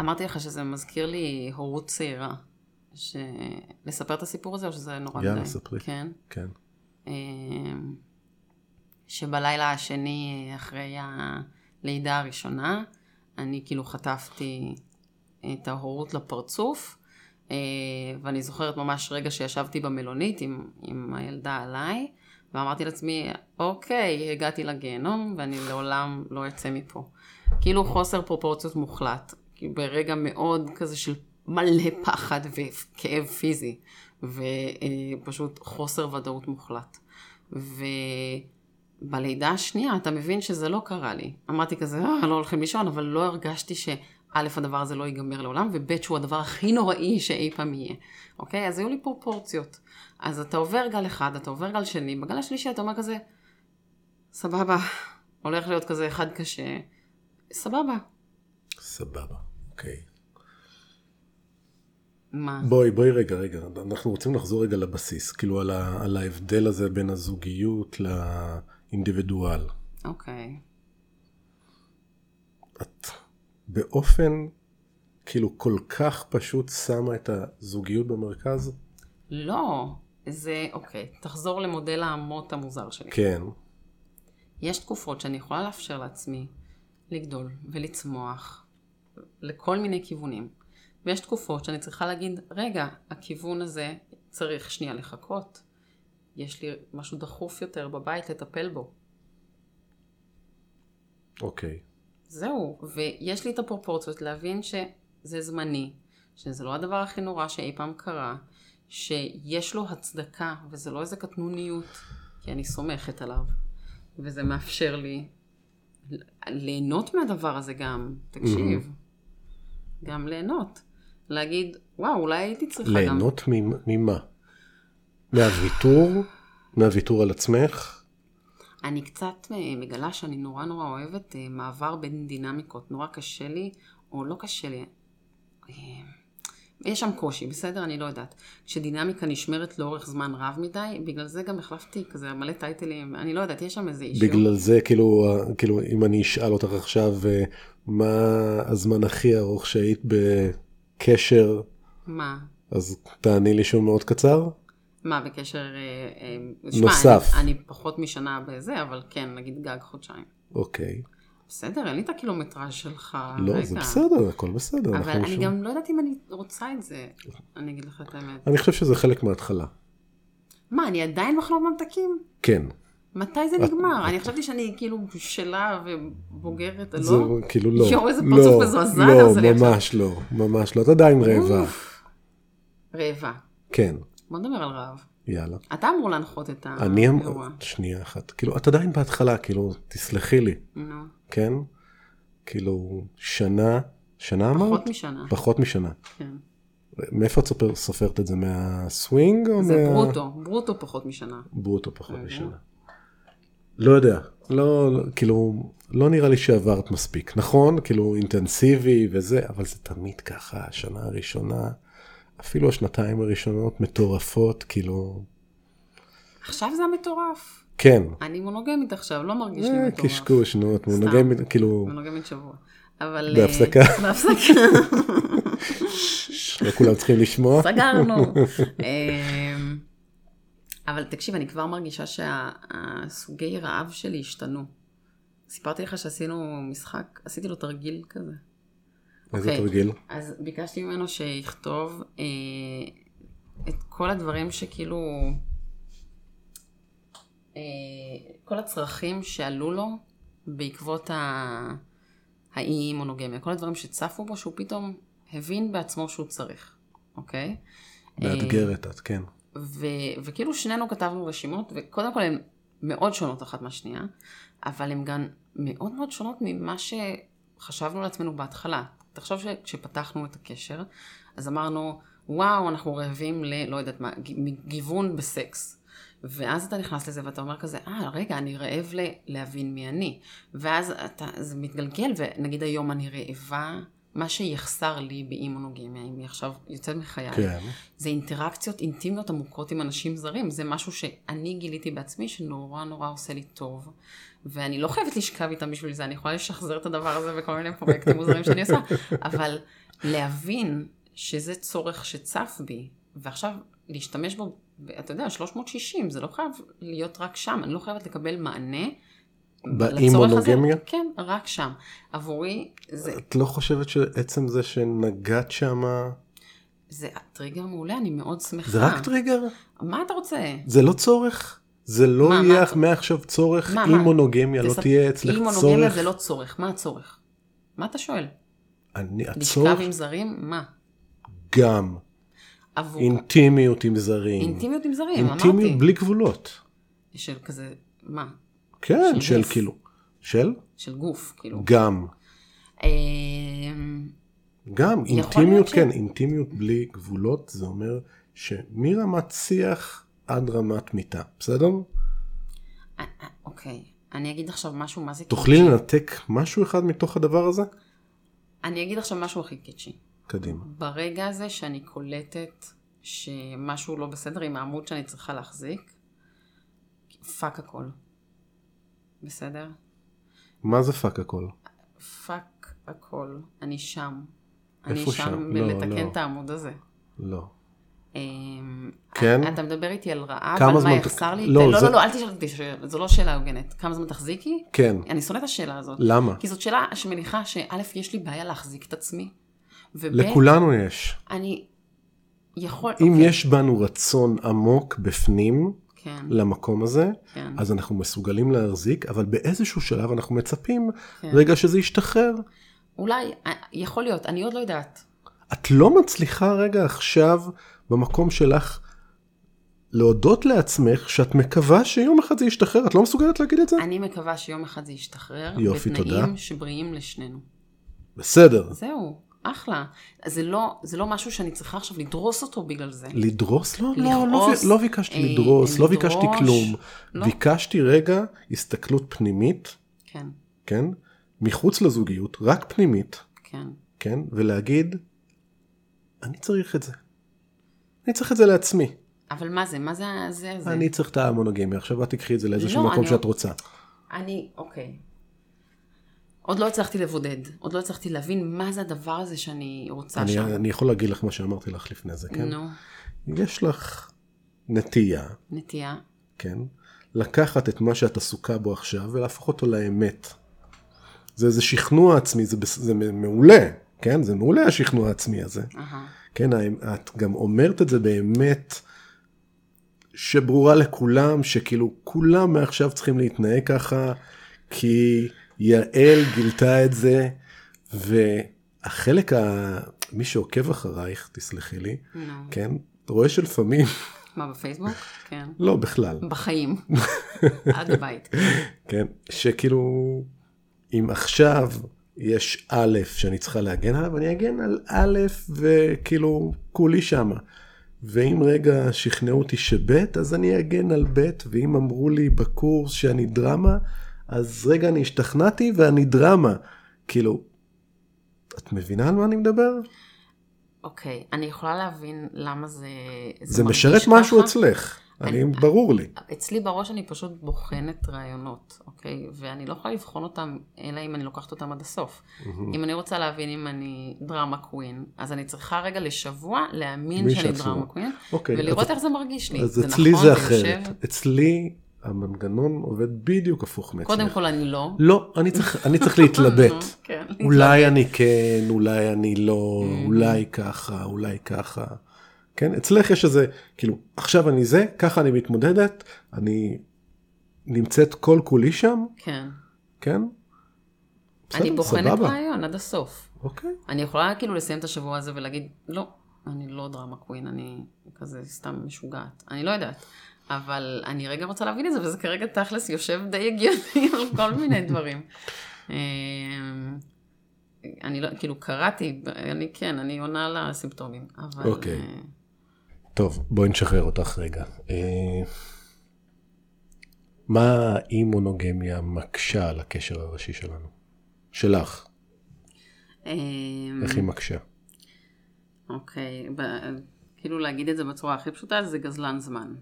Speaker 1: אמרתי לך שזה מזכיר לי הורות צעירה. ש... לספר את הסיפור הזה או שזה נורא
Speaker 2: יאללה, ספרי.
Speaker 1: כן.
Speaker 2: כן.
Speaker 1: אמ, שבלילה השני אה, אחרי הלידה הראשונה, אני כאילו חטפתי את ההורות לפרצוף, אה, ואני זוכרת ממש רגע שישבתי במלונית עם, עם הילדה עליי, ואמרתי לעצמי, אוקיי, הגעתי לגיהנום ואני לעולם לא אצא מפה. כאילו חוסר פרופורציות מוחלט, כי ברגע מאוד כזה של מלא פחד וכאב פיזי, ופשוט חוסר ודאות מוחלט. ובלידה השנייה אתה מבין שזה לא קרה לי. אמרתי כזה, אה, לא הולכים לישון, אבל לא הרגשתי ש... א', הדבר הזה לא ייגמר לעולם, וב', שהוא הדבר הכי נוראי שאי פעם יהיה. אוקיי? אז היו לי פרופורציות. אז אתה עובר גל אחד, אתה עובר גל שני, בגל השלישי אתה אומר כזה, סבבה, הולך להיות כזה אחד קשה, סבבה.
Speaker 2: סבבה, אוקיי.
Speaker 1: מה?
Speaker 2: בואי, בואי רגע, רגע, אנחנו רוצים לחזור רגע לבסיס, כאילו על, ה, על ההבדל הזה בין הזוגיות לאינדיבידואל.
Speaker 1: אוקיי.
Speaker 2: את באופן כאילו כל כך פשוט שמה את הזוגיות במרכז?
Speaker 1: לא, זה, אוקיי, תחזור למודל האמות המוזר שלי.
Speaker 2: כן,
Speaker 1: יש תקופות שאני יכולה לאפשר לעצמי לגדול ולצמוח לכל מיני כיוונים. ויש תקופות שאני צריכה להגיד, רגע, הכיוון הזה צריך שנייה לחכות. יש לי משהו דחוף יותר בבית לטפל בו.
Speaker 2: אוקיי.
Speaker 1: זהו, ויש לי את הפרופורציות להבין שזה זמני, שזה לא הדבר הכי נורא שאי פעם קרה, שיש לו הצדקה, וזה לא איזה קטנוניות, כי אני סומכת עליו, וזה מאפשר לי ל- ליהנות מהדבר הזה גם, תקשיב, גם ליהנות. להגיד, וואו, אולי הייתי צריכה גם...
Speaker 2: ליהנות ממ- ממה? מהוויתור? מהוויתור על עצמך?
Speaker 1: אני קצת אה, מגלה שאני נורא נורא אוהבת אה, מעבר בין דינמיקות. נורא קשה לי, או לא קשה לי. אה, יש שם קושי, בסדר? אני לא יודעת. כשדינמיקה נשמרת לאורך זמן רב מדי, בגלל זה גם החלפתי כזה מלא טייטלים, אני לא יודעת, יש שם איזה אישיו.
Speaker 2: בגלל זה, כאילו, אה, כאילו, אם אני אשאל אותך עכשיו, אה, מה הזמן הכי ארוך שהיית בקשר,
Speaker 1: מה?
Speaker 2: אז תעני לי שהוא מאוד קצר?
Speaker 1: מה, בקשר... אה, אה,
Speaker 2: נוסף.
Speaker 1: שמע, אני, אני פחות משנה בזה, אבל כן, נגיד גג חודשיים.
Speaker 2: אוקיי.
Speaker 1: בסדר, אין לי את הקילומטראז' שלך.
Speaker 2: לא, זה
Speaker 1: אה, רגע.
Speaker 2: בסדר, הכל בסדר.
Speaker 1: אבל
Speaker 2: אנחנו
Speaker 1: אני
Speaker 2: שם.
Speaker 1: גם לא יודעת אם אני רוצה את זה, אני אגיד לך את האמת.
Speaker 2: אני חושב שזה חלק מההתחלה.
Speaker 1: מה, אני עדיין בחלום ממתקים?
Speaker 2: כן.
Speaker 1: מתי זה נגמר? אני חשבתי שאני כאילו בשלה ובוגרת,
Speaker 2: זה
Speaker 1: לא?
Speaker 2: כאילו לא.
Speaker 1: יואו, איזה
Speaker 2: לא,
Speaker 1: פרצוף מזועזע
Speaker 2: לא,
Speaker 1: עשה לי עכשיו.
Speaker 2: ממש לא, ממש לא. את עדיין רעבה.
Speaker 1: אוף. רעבה.
Speaker 2: כן,
Speaker 1: בוא נדבר על רעב.
Speaker 2: יאללה.
Speaker 1: אתה אמור להנחות את האירוע.
Speaker 2: אני אמ... שנייה אחת. כאילו, את עדיין בהתחלה, כאילו, תסלחי לי,
Speaker 1: נו,
Speaker 2: כן? כאילו, שנה, שנה אמרת?
Speaker 1: פחות משנה.
Speaker 2: פחות משנה.
Speaker 1: כן.
Speaker 2: מאיפה את סופר- סופרת את זה? מהסווינג או מה...
Speaker 1: זה ברוטו, ברוטו פחות משנה.
Speaker 2: ברוטו פחות
Speaker 1: אוקיי.
Speaker 2: משנה. לא יודע, לא, לא- כאילו, לא נראה לי שעברת מספיק. נכון, כאילו אינטנסיבי וזה, אבל זה תמיד ככה, השנה הראשונה, אפילו השנתיים הראשונות מטורפות, כאילו,
Speaker 1: עכשיו זה המטורף.
Speaker 2: כן.
Speaker 1: אני מונוגמית עכשיו, לא מרגיש לי
Speaker 2: אה,
Speaker 1: מטורף.
Speaker 2: קשקוש, נו, את מונוגמית, כאילו,
Speaker 1: מונוגמית שבוע. אבל... אה,
Speaker 2: בהפסקה.
Speaker 1: בהפסקה.
Speaker 2: לא כולם צריכים לשמוע.
Speaker 1: אוקיי. סגרנו. אמ, אבל תקשיב, אני כבר מרגישה שהסוגי רעב שלי השתנו. סיפרתי לך שעשינו משחק, עשיתי לו תרגיל כזה.
Speaker 2: איזה
Speaker 1: אוקיי.
Speaker 2: תרגיל.
Speaker 1: אז ביקשתי ממנו שיכתוב אה, את כל הדברים שכאילו... אה, כל הצרכים שעלו לו בעקבות ה... האי מונוגמיה, כל הדברים שצפו בו שהוא פתאום הבין בעצמו שהוא צריך, אוקיי? אה,
Speaker 2: מאתגרת את, כן.
Speaker 1: ו, וכאילו שנינו כתבנו רשימות, וקודם כל הן מאוד שונות אחת מהשנייה, אבל הן גם מאוד מאוד שונות ממה שחשבנו לעצמנו בהתחלה. תחשוב שכשפתחנו את הקשר, אז אמרנו, וואו, אנחנו רעבים ל... לא יודעת מה, ג- גיוון בסקס. ואז אתה נכנס לזה ואתה אומר כזה, אה, רגע, אני רעב ל- להבין מי אני. ואז אתה, זה מתגלגל, ונגיד היום אני רעבה, מה שיחסר לי באי מונוגמיה, אם היא עכשיו יוצאת מחיי,
Speaker 2: כן.
Speaker 1: זה אינטראקציות אינטימיות עמוקות עם אנשים זרים. זה משהו שאני גיליתי בעצמי שנורא נורא עושה לי טוב. ואני לא חייבת לשכב איתם בשביל זה, אני יכולה לשחזר את הדבר הזה בכל מיני פרויקטים מוזרים שאני עושה, אבל להבין שזה צורך שצף בי, ועכשיו להשתמש בו, אתה יודע, 360, זה לא חייב להיות רק שם, אני לא חייבת לקבל מענה.
Speaker 2: באי
Speaker 1: לצורך הזה.
Speaker 2: מונוגמיה?
Speaker 1: כן, רק שם. עבורי זה
Speaker 2: את לא חושבת שעצם זה שנגעת שמה,
Speaker 1: זה טריגר מעולה, אני מאוד שמחה.
Speaker 2: זה רק טריגר?
Speaker 1: מה אתה רוצה?
Speaker 2: זה לא צורך? זה לא
Speaker 1: מה,
Speaker 2: יהיה
Speaker 1: מה?
Speaker 2: מעכשיו צורך,
Speaker 1: מה,
Speaker 2: אם
Speaker 1: מה?
Speaker 2: מונוגמיה לא
Speaker 1: תספ-
Speaker 2: תהיה אצלך
Speaker 1: אם
Speaker 2: צורך.
Speaker 1: מונוגמיה זה לא צורך, מה הצורך? מה אתה שואל?
Speaker 2: אני, הצורך
Speaker 1: לשכב עם אוקיי. זרים? מה?
Speaker 2: גם
Speaker 1: עבור...
Speaker 2: אינטימיות עם זרים.
Speaker 1: אינטימיות עם זרים,
Speaker 2: אינטימיות
Speaker 1: אמרתי.
Speaker 2: בלי גבולות.
Speaker 1: של כזה, מה?
Speaker 2: כן,
Speaker 1: של
Speaker 2: של
Speaker 1: גוף.
Speaker 2: כאילו. של?
Speaker 1: של גוף, כאילו. אה,
Speaker 2: גם.
Speaker 1: אמ,
Speaker 2: גם,
Speaker 1: להיות
Speaker 2: אינטימיות,
Speaker 1: ש-
Speaker 2: כן, אינטימיות בלי גבולות, זה אומר שמרמת שיח עד רמת מיטה, בסדר?
Speaker 1: אה, אה, אוקיי, אני אגיד עכשיו משהו מה זה
Speaker 2: תוכלי לנתק משהו אחד מתוך הדבר הזה?
Speaker 1: אני אגיד עכשיו משהו הכי קיצ'י.
Speaker 2: קדימה.
Speaker 1: ברגע הזה שאני קולטת שמשהו לא בסדר עם העמוד שאני צריכה להחזיק, פאק הכל. בסדר?
Speaker 2: מה זה פאק הכל?
Speaker 1: פאק הכל, אני שם.
Speaker 2: איפה
Speaker 1: אני שם,
Speaker 2: שם? לא,
Speaker 1: בלתקן
Speaker 2: לא.
Speaker 1: את העמוד הזה.
Speaker 2: לא.
Speaker 1: אמ,
Speaker 2: כן?
Speaker 1: אתה מדבר איתי על רעב,
Speaker 2: כמה
Speaker 1: על
Speaker 2: זמן
Speaker 1: מה
Speaker 2: ת-
Speaker 1: יחסר לי?
Speaker 2: לא,
Speaker 1: לא, לא,
Speaker 2: זה-
Speaker 1: לא, לא, אל תשאל אותי, ש- זו לא שאלה הוגנת. כמה זמן תחזיקי?
Speaker 2: כן,
Speaker 1: אני שונאת את השאלה הזאת.
Speaker 2: למה?
Speaker 1: כי זאת שאלה שמניחה שא', יש לי בעיה להחזיק את עצמי, וב',
Speaker 2: לכולנו יש.
Speaker 1: אני יכול...
Speaker 2: אם
Speaker 1: אוקיי,
Speaker 2: יש בנו רצון עמוק בפנים
Speaker 1: כן,
Speaker 2: למקום הזה,
Speaker 1: כן,
Speaker 2: לא. אז אנחנו מסוגלים להחזיק, אבל באיזשהו שלב אנחנו מצפים
Speaker 1: כן.
Speaker 2: רגע שזה ישתחרר.
Speaker 1: אולי, אה, יכול להיות, אני עוד לא יודעת.
Speaker 2: את לא מצליחה רגע עכשיו, במקום שלך, להודות לעצמך שאת מקווה שיום אחד זה ישתחרר, את לא מסוגלת להגיד את זה?
Speaker 1: אני מקווה שיום אחד זה ישתחרר,
Speaker 2: יופי, תודה.
Speaker 1: בתנאים שבריאים לשנינו.
Speaker 2: בסדר.
Speaker 1: זהו, אחלה. זה לא, זה לא משהו שאני צריכה עכשיו לדרוס אותו בגלל זה.
Speaker 2: לדרוס? לא, לא, לא,
Speaker 1: לכעוס,
Speaker 2: ב- לא ביקשתי
Speaker 1: אה,
Speaker 2: לדרוס, לא
Speaker 1: לדרוש,
Speaker 2: ביקשתי כלום.
Speaker 1: לא.
Speaker 2: ביקשתי רגע הסתכלות פנימית,
Speaker 1: כן,
Speaker 2: כן? מחוץ לזוגיות, רק פנימית,
Speaker 1: כן.
Speaker 2: כן? ולהגיד, אני צריך את זה. אני צריך את זה לעצמי.
Speaker 1: אבל מה זה? מה זה זה? זה?
Speaker 2: אני צריך את המונוגמיה. עכשיו את תקחי את זה לאיזשהו
Speaker 1: לא,
Speaker 2: מקום
Speaker 1: אני-
Speaker 2: שאת רוצה.
Speaker 1: אני, אוקיי. עוד לא הצלחתי לבודד, עוד לא הצלחתי להבין מה זה הדבר הזה שאני רוצה
Speaker 2: אני,
Speaker 1: שם.
Speaker 2: אני יכול להגיד לך מה שאמרתי לך לפני זה, כן?
Speaker 1: נו,
Speaker 2: יש לך נטייה,
Speaker 1: נטייה.
Speaker 2: כן? לקחת את מה שאת עסוקה בו עכשיו ולהפוך אותו לאמת. זה איזה שכנוע עצמי, זה, בס- זה מעולה, כן? זה מעולה השכנוע העצמי הזה.
Speaker 1: אהה.
Speaker 2: כן, ה- את גם אומרת את זה באמת שברורה לכולם, שכאילו כולם מעכשיו צריכים להתנהג ככה, כי יעל גילתה את זה, והחלק, ה... מי שעוקב אחרייך, תסלחי לי,
Speaker 1: נו.
Speaker 2: כן, רואה שלפעמים,
Speaker 1: מה, בפייסבוק? כן.
Speaker 2: לא בכלל,
Speaker 1: בחיים. עד הבית.
Speaker 2: כן, שכאילו, אם עכשיו יש א' שאני צריכה להגן עליו, אני אגן על א' וכאילו כולי שמה. ואם רגע שכנעו אותי שב', אז אני אגן על ב', ואם אמרו לי בקורס שאני דרמה, אז רגע אני השתכנעתי ואני דרמה. כאילו, את מבינה על מה אני מדבר?
Speaker 1: אוקיי, אני יכולה להבין למה זה...
Speaker 2: זה
Speaker 1: מרגיש
Speaker 2: משרת משהו
Speaker 1: ככה.
Speaker 2: אצלך,
Speaker 1: אני-
Speaker 2: אני, ברור לי.
Speaker 1: אצלי בראש אני פשוט בוחנת רעיונות, אוקיי? ואני לא יכולה לבחון אותם, אלא אם אני לוקחת אותם עד הסוף.
Speaker 2: Mm.
Speaker 1: אם אני רוצה להבין אם אני דרמה קווין, אז אני צריכה רגע לשבוע להאמין
Speaker 2: מי
Speaker 1: שאני
Speaker 2: שאת
Speaker 1: דרמה
Speaker 2: סבורה.
Speaker 1: קווין,
Speaker 2: אוקיי,
Speaker 1: ולראות
Speaker 2: אז-
Speaker 1: איך זה מרגיש לי.
Speaker 2: אז
Speaker 1: זה
Speaker 2: אצלי
Speaker 1: נכון,
Speaker 2: זה
Speaker 1: יושב?
Speaker 2: אחרת. אצלי המנגנון עובד בדיוק הפוך מאצלך.
Speaker 1: קודם כל אני לא.
Speaker 2: לא, אני צריך, אני צריך להתלבט.
Speaker 1: כן.
Speaker 2: אולי אני כן, אולי אני לא, אולי ככה, אולי ככה. כן, אצלך יש איזה, כאילו, עכשיו אני זה, ככה אני מתמודדת, אני נמצאת כל כולי שם,
Speaker 1: כן.
Speaker 2: כן?
Speaker 1: אני
Speaker 2: בסדר,
Speaker 1: בוחנת
Speaker 2: סבבה.
Speaker 1: רעיון עד הסוף.
Speaker 2: אוקיי.
Speaker 1: אני יכולה כאילו לסיים את השבוע הזה ולהגיד, לא, אני לא דרמה קווין, אני כזה סתם משוגעת. אני לא יודעת. אבל אני רגע רוצה להבין את זה, וזה כרגע תכלס יושב די הגיוני על כל מיני דברים. אמ, אני לא, כאילו קראתי, אני כן, אני עונה לסימפטומים, אבל...
Speaker 2: אוקיי.
Speaker 1: אה,
Speaker 2: טוב, בואי נשחרר אותך רגע. אה, מה האי מונוגמיה מקשה על הקשר הראשי שלנו? שלך,
Speaker 1: אמ,
Speaker 2: איך היא מקשה?
Speaker 1: אוקיי, ב- כאילו להגיד את זה בצורה הכי פשוטה, זה גזלן זמן.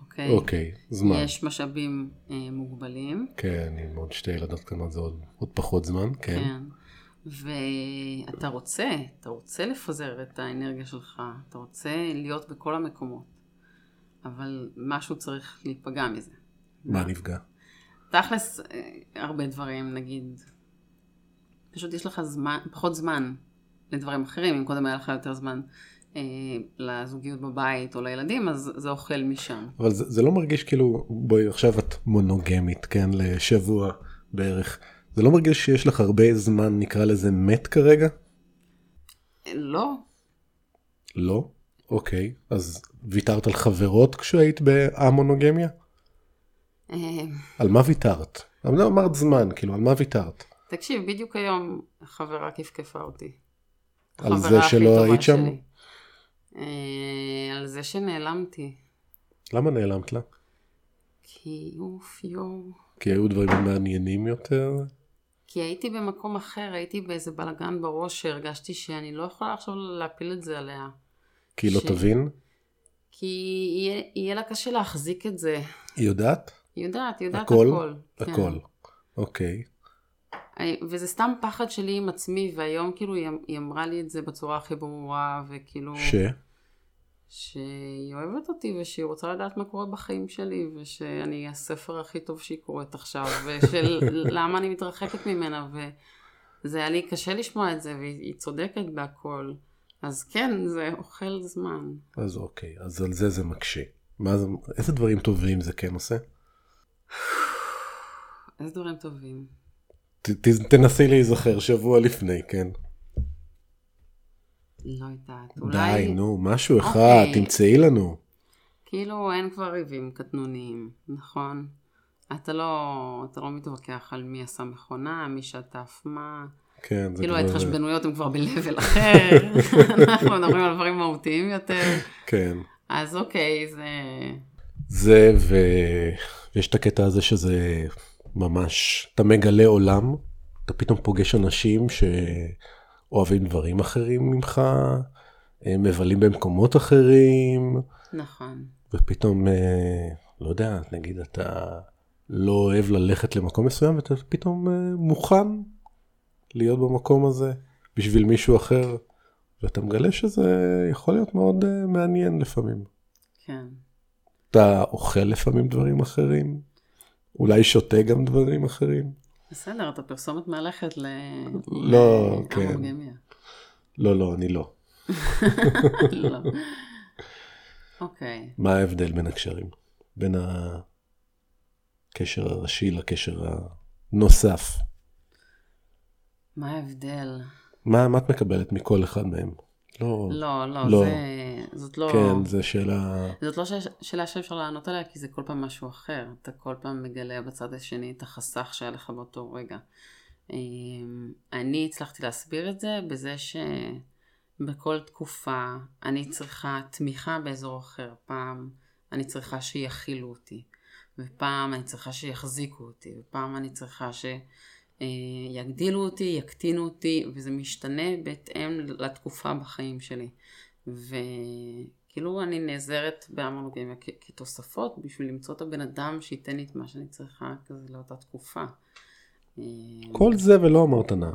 Speaker 1: אוקיי?
Speaker 2: אוקיי, זמן.
Speaker 1: יש משאבים אה, מוגבלים.
Speaker 2: כן, עם עוד שתי ילדות קטנות זה עוד, עוד פחות זמן, כן.
Speaker 1: כן. ואתה רוצה, אתה רוצה לפזר את האנרגיה שלך, אתה רוצה להיות בכל המקומות, אבל משהו צריך להיפגע מזה.
Speaker 2: מה נפגע?
Speaker 1: תכלס, אה, הרבה דברים, נגיד, פשוט יש לך זמן, פחות זמן לדברים אחרים, אם קודם היה לך יותר זמן אה, לזוגיות בבית או לילדים, אז זה אוכל משם.
Speaker 2: אבל זה, זה לא מרגיש כאילו, בואי עכשיו את מונוגמית, כן, לשבוע בערך. זה לא מרגיש שיש לך הרבה זמן, נקרא לזה מת כרגע?
Speaker 1: אה, לא,
Speaker 2: לא. אוקיי, אז ויתרת על חברות כשהיית במונוגמיה?
Speaker 1: אה,
Speaker 2: על מה ויתרת? אבל לא אמרת זמן, כאילו, על מה ויתרת?
Speaker 1: תקשיב, בדיוק היום חברה כפכפה אותי.
Speaker 2: על זה
Speaker 1: החברה הכי
Speaker 2: שלא
Speaker 1: טובה
Speaker 2: היית שם?
Speaker 1: שלי. אה, על זה שנעלמתי.
Speaker 2: למה נעלמת לה?
Speaker 1: כי אוף יואו.
Speaker 2: כי היו דברים מעניינים יותר?
Speaker 1: כי הייתי במקום אחר, הייתי באיזה בלאגן בראש שהרגשתי שאני לא יכולה עכשיו להפיל את זה עליה.
Speaker 2: כי היא לא
Speaker 1: ש-
Speaker 2: תבין?
Speaker 1: כי יהיה, יהיה לה קשה להחזיק את זה.
Speaker 2: היא יודעת?
Speaker 1: היא יודעת, היא יודעת
Speaker 2: הכל?
Speaker 1: הכל. כן.
Speaker 2: הכל. אוקיי.
Speaker 1: אני- וזה סתם פחד שלי עם עצמי, והיום כאילו היא, היא אמרה לי את זה בצורה הכי ברורה, וכאילו...
Speaker 2: ש?
Speaker 1: שהיא אוהבת אותי ושהיא רוצה לדעת מה קורה בחיים שלי ושאני הספר הכי טוב שהיא קוראת עכשיו ושל למה אני מתרחקת ממנה וזה היה לי קשה לשמוע את זה והיא היא צודקת בהכל אז כן זה אוכל זמן
Speaker 2: אז אוקיי, אז על זה זה מקשה. מה זה, איזה דברים טובים זה כן עושה?
Speaker 1: איזה דברים טובים
Speaker 2: ת, ת, תנסי להיזכר שבוע לפני, כן.
Speaker 1: לא יודעת
Speaker 2: אולי... די,
Speaker 1: אולי
Speaker 2: נו, משהו אחד,
Speaker 1: אוקיי.
Speaker 2: תמצאי לנו.
Speaker 1: כאילו אין כבר ריבים קטנוניים נכון אתה לא אתה לא מתווכח על מי עשה מכונה מי שטף מה
Speaker 2: כן, זה
Speaker 1: כאילו
Speaker 2: כבר-
Speaker 1: ההתחשבנויות הן כבר ב-level אחר, אנחנו מדברים על דברים מהותיים יותר,
Speaker 2: כן.
Speaker 1: אז אוקיי, זה...
Speaker 2: זה, ויש את הקטע הזה שזה ממש, אתה מגלה עולם, אתה פתאום פוגש אנשים שאוהבים דברים אחרים ממך, אה, מבלים במקומות אחרים,
Speaker 1: נכון.
Speaker 2: ופתאום, אה, לא יודע, נגיד אתה לא אוהב ללכת למקום מסוים, ואתה פתאום אה, מוכן להיות במקום הזה בשביל מישהו אחר, ואתה מגלה שזה יכול להיות מאוד אה, מעניין לפעמים.
Speaker 1: כן.
Speaker 2: אתה אוכל לפעמים דברים אחרים, אולי שותה גם דברים אחרים.
Speaker 1: בסדר, אתה פרסומת מהלכת ל...
Speaker 2: לא, כן.
Speaker 1: להמבורגניה.
Speaker 2: לא, לא, אני לא.
Speaker 1: לא. אוקיי.
Speaker 2: מה ההבדל בין הקשרים? בין הקשר הראשי לקשר הנוסף.
Speaker 1: מה ההבדל?
Speaker 2: מה, מה את מקבלת מכל אחד מהם? לא,
Speaker 1: לא,
Speaker 2: לא.
Speaker 1: לא, זה- זאת לא...
Speaker 2: כן, זו שאלה...
Speaker 1: זאת לא ש- שאלה שאפשר לענות עליה, כי זה כל פעם משהו אחר. אתה כל פעם מגלה בצד השני את החסך שהיה לך באותו רגע. אמ, אני הצלחתי להסביר את זה בזה שבכל תקופה אני צריכה תמיכה באזור אחר. פעם אני צריכה שיכילו אותי, ופעם אני צריכה שיחזיקו אותי, ופעם אני צריכה שיגדילו אותי, יקטינו אותי, וזה משתנה בהתאם לתקופה בחיים שלי. וכאילו אני נעזרת בהמונוגמיה כ- כתוספות בשביל למצוא את הבן אדם שייתן לי את מה שאני צריכה כזה לאותה תקופה. אה,
Speaker 2: כל זה ולא אמרת נא.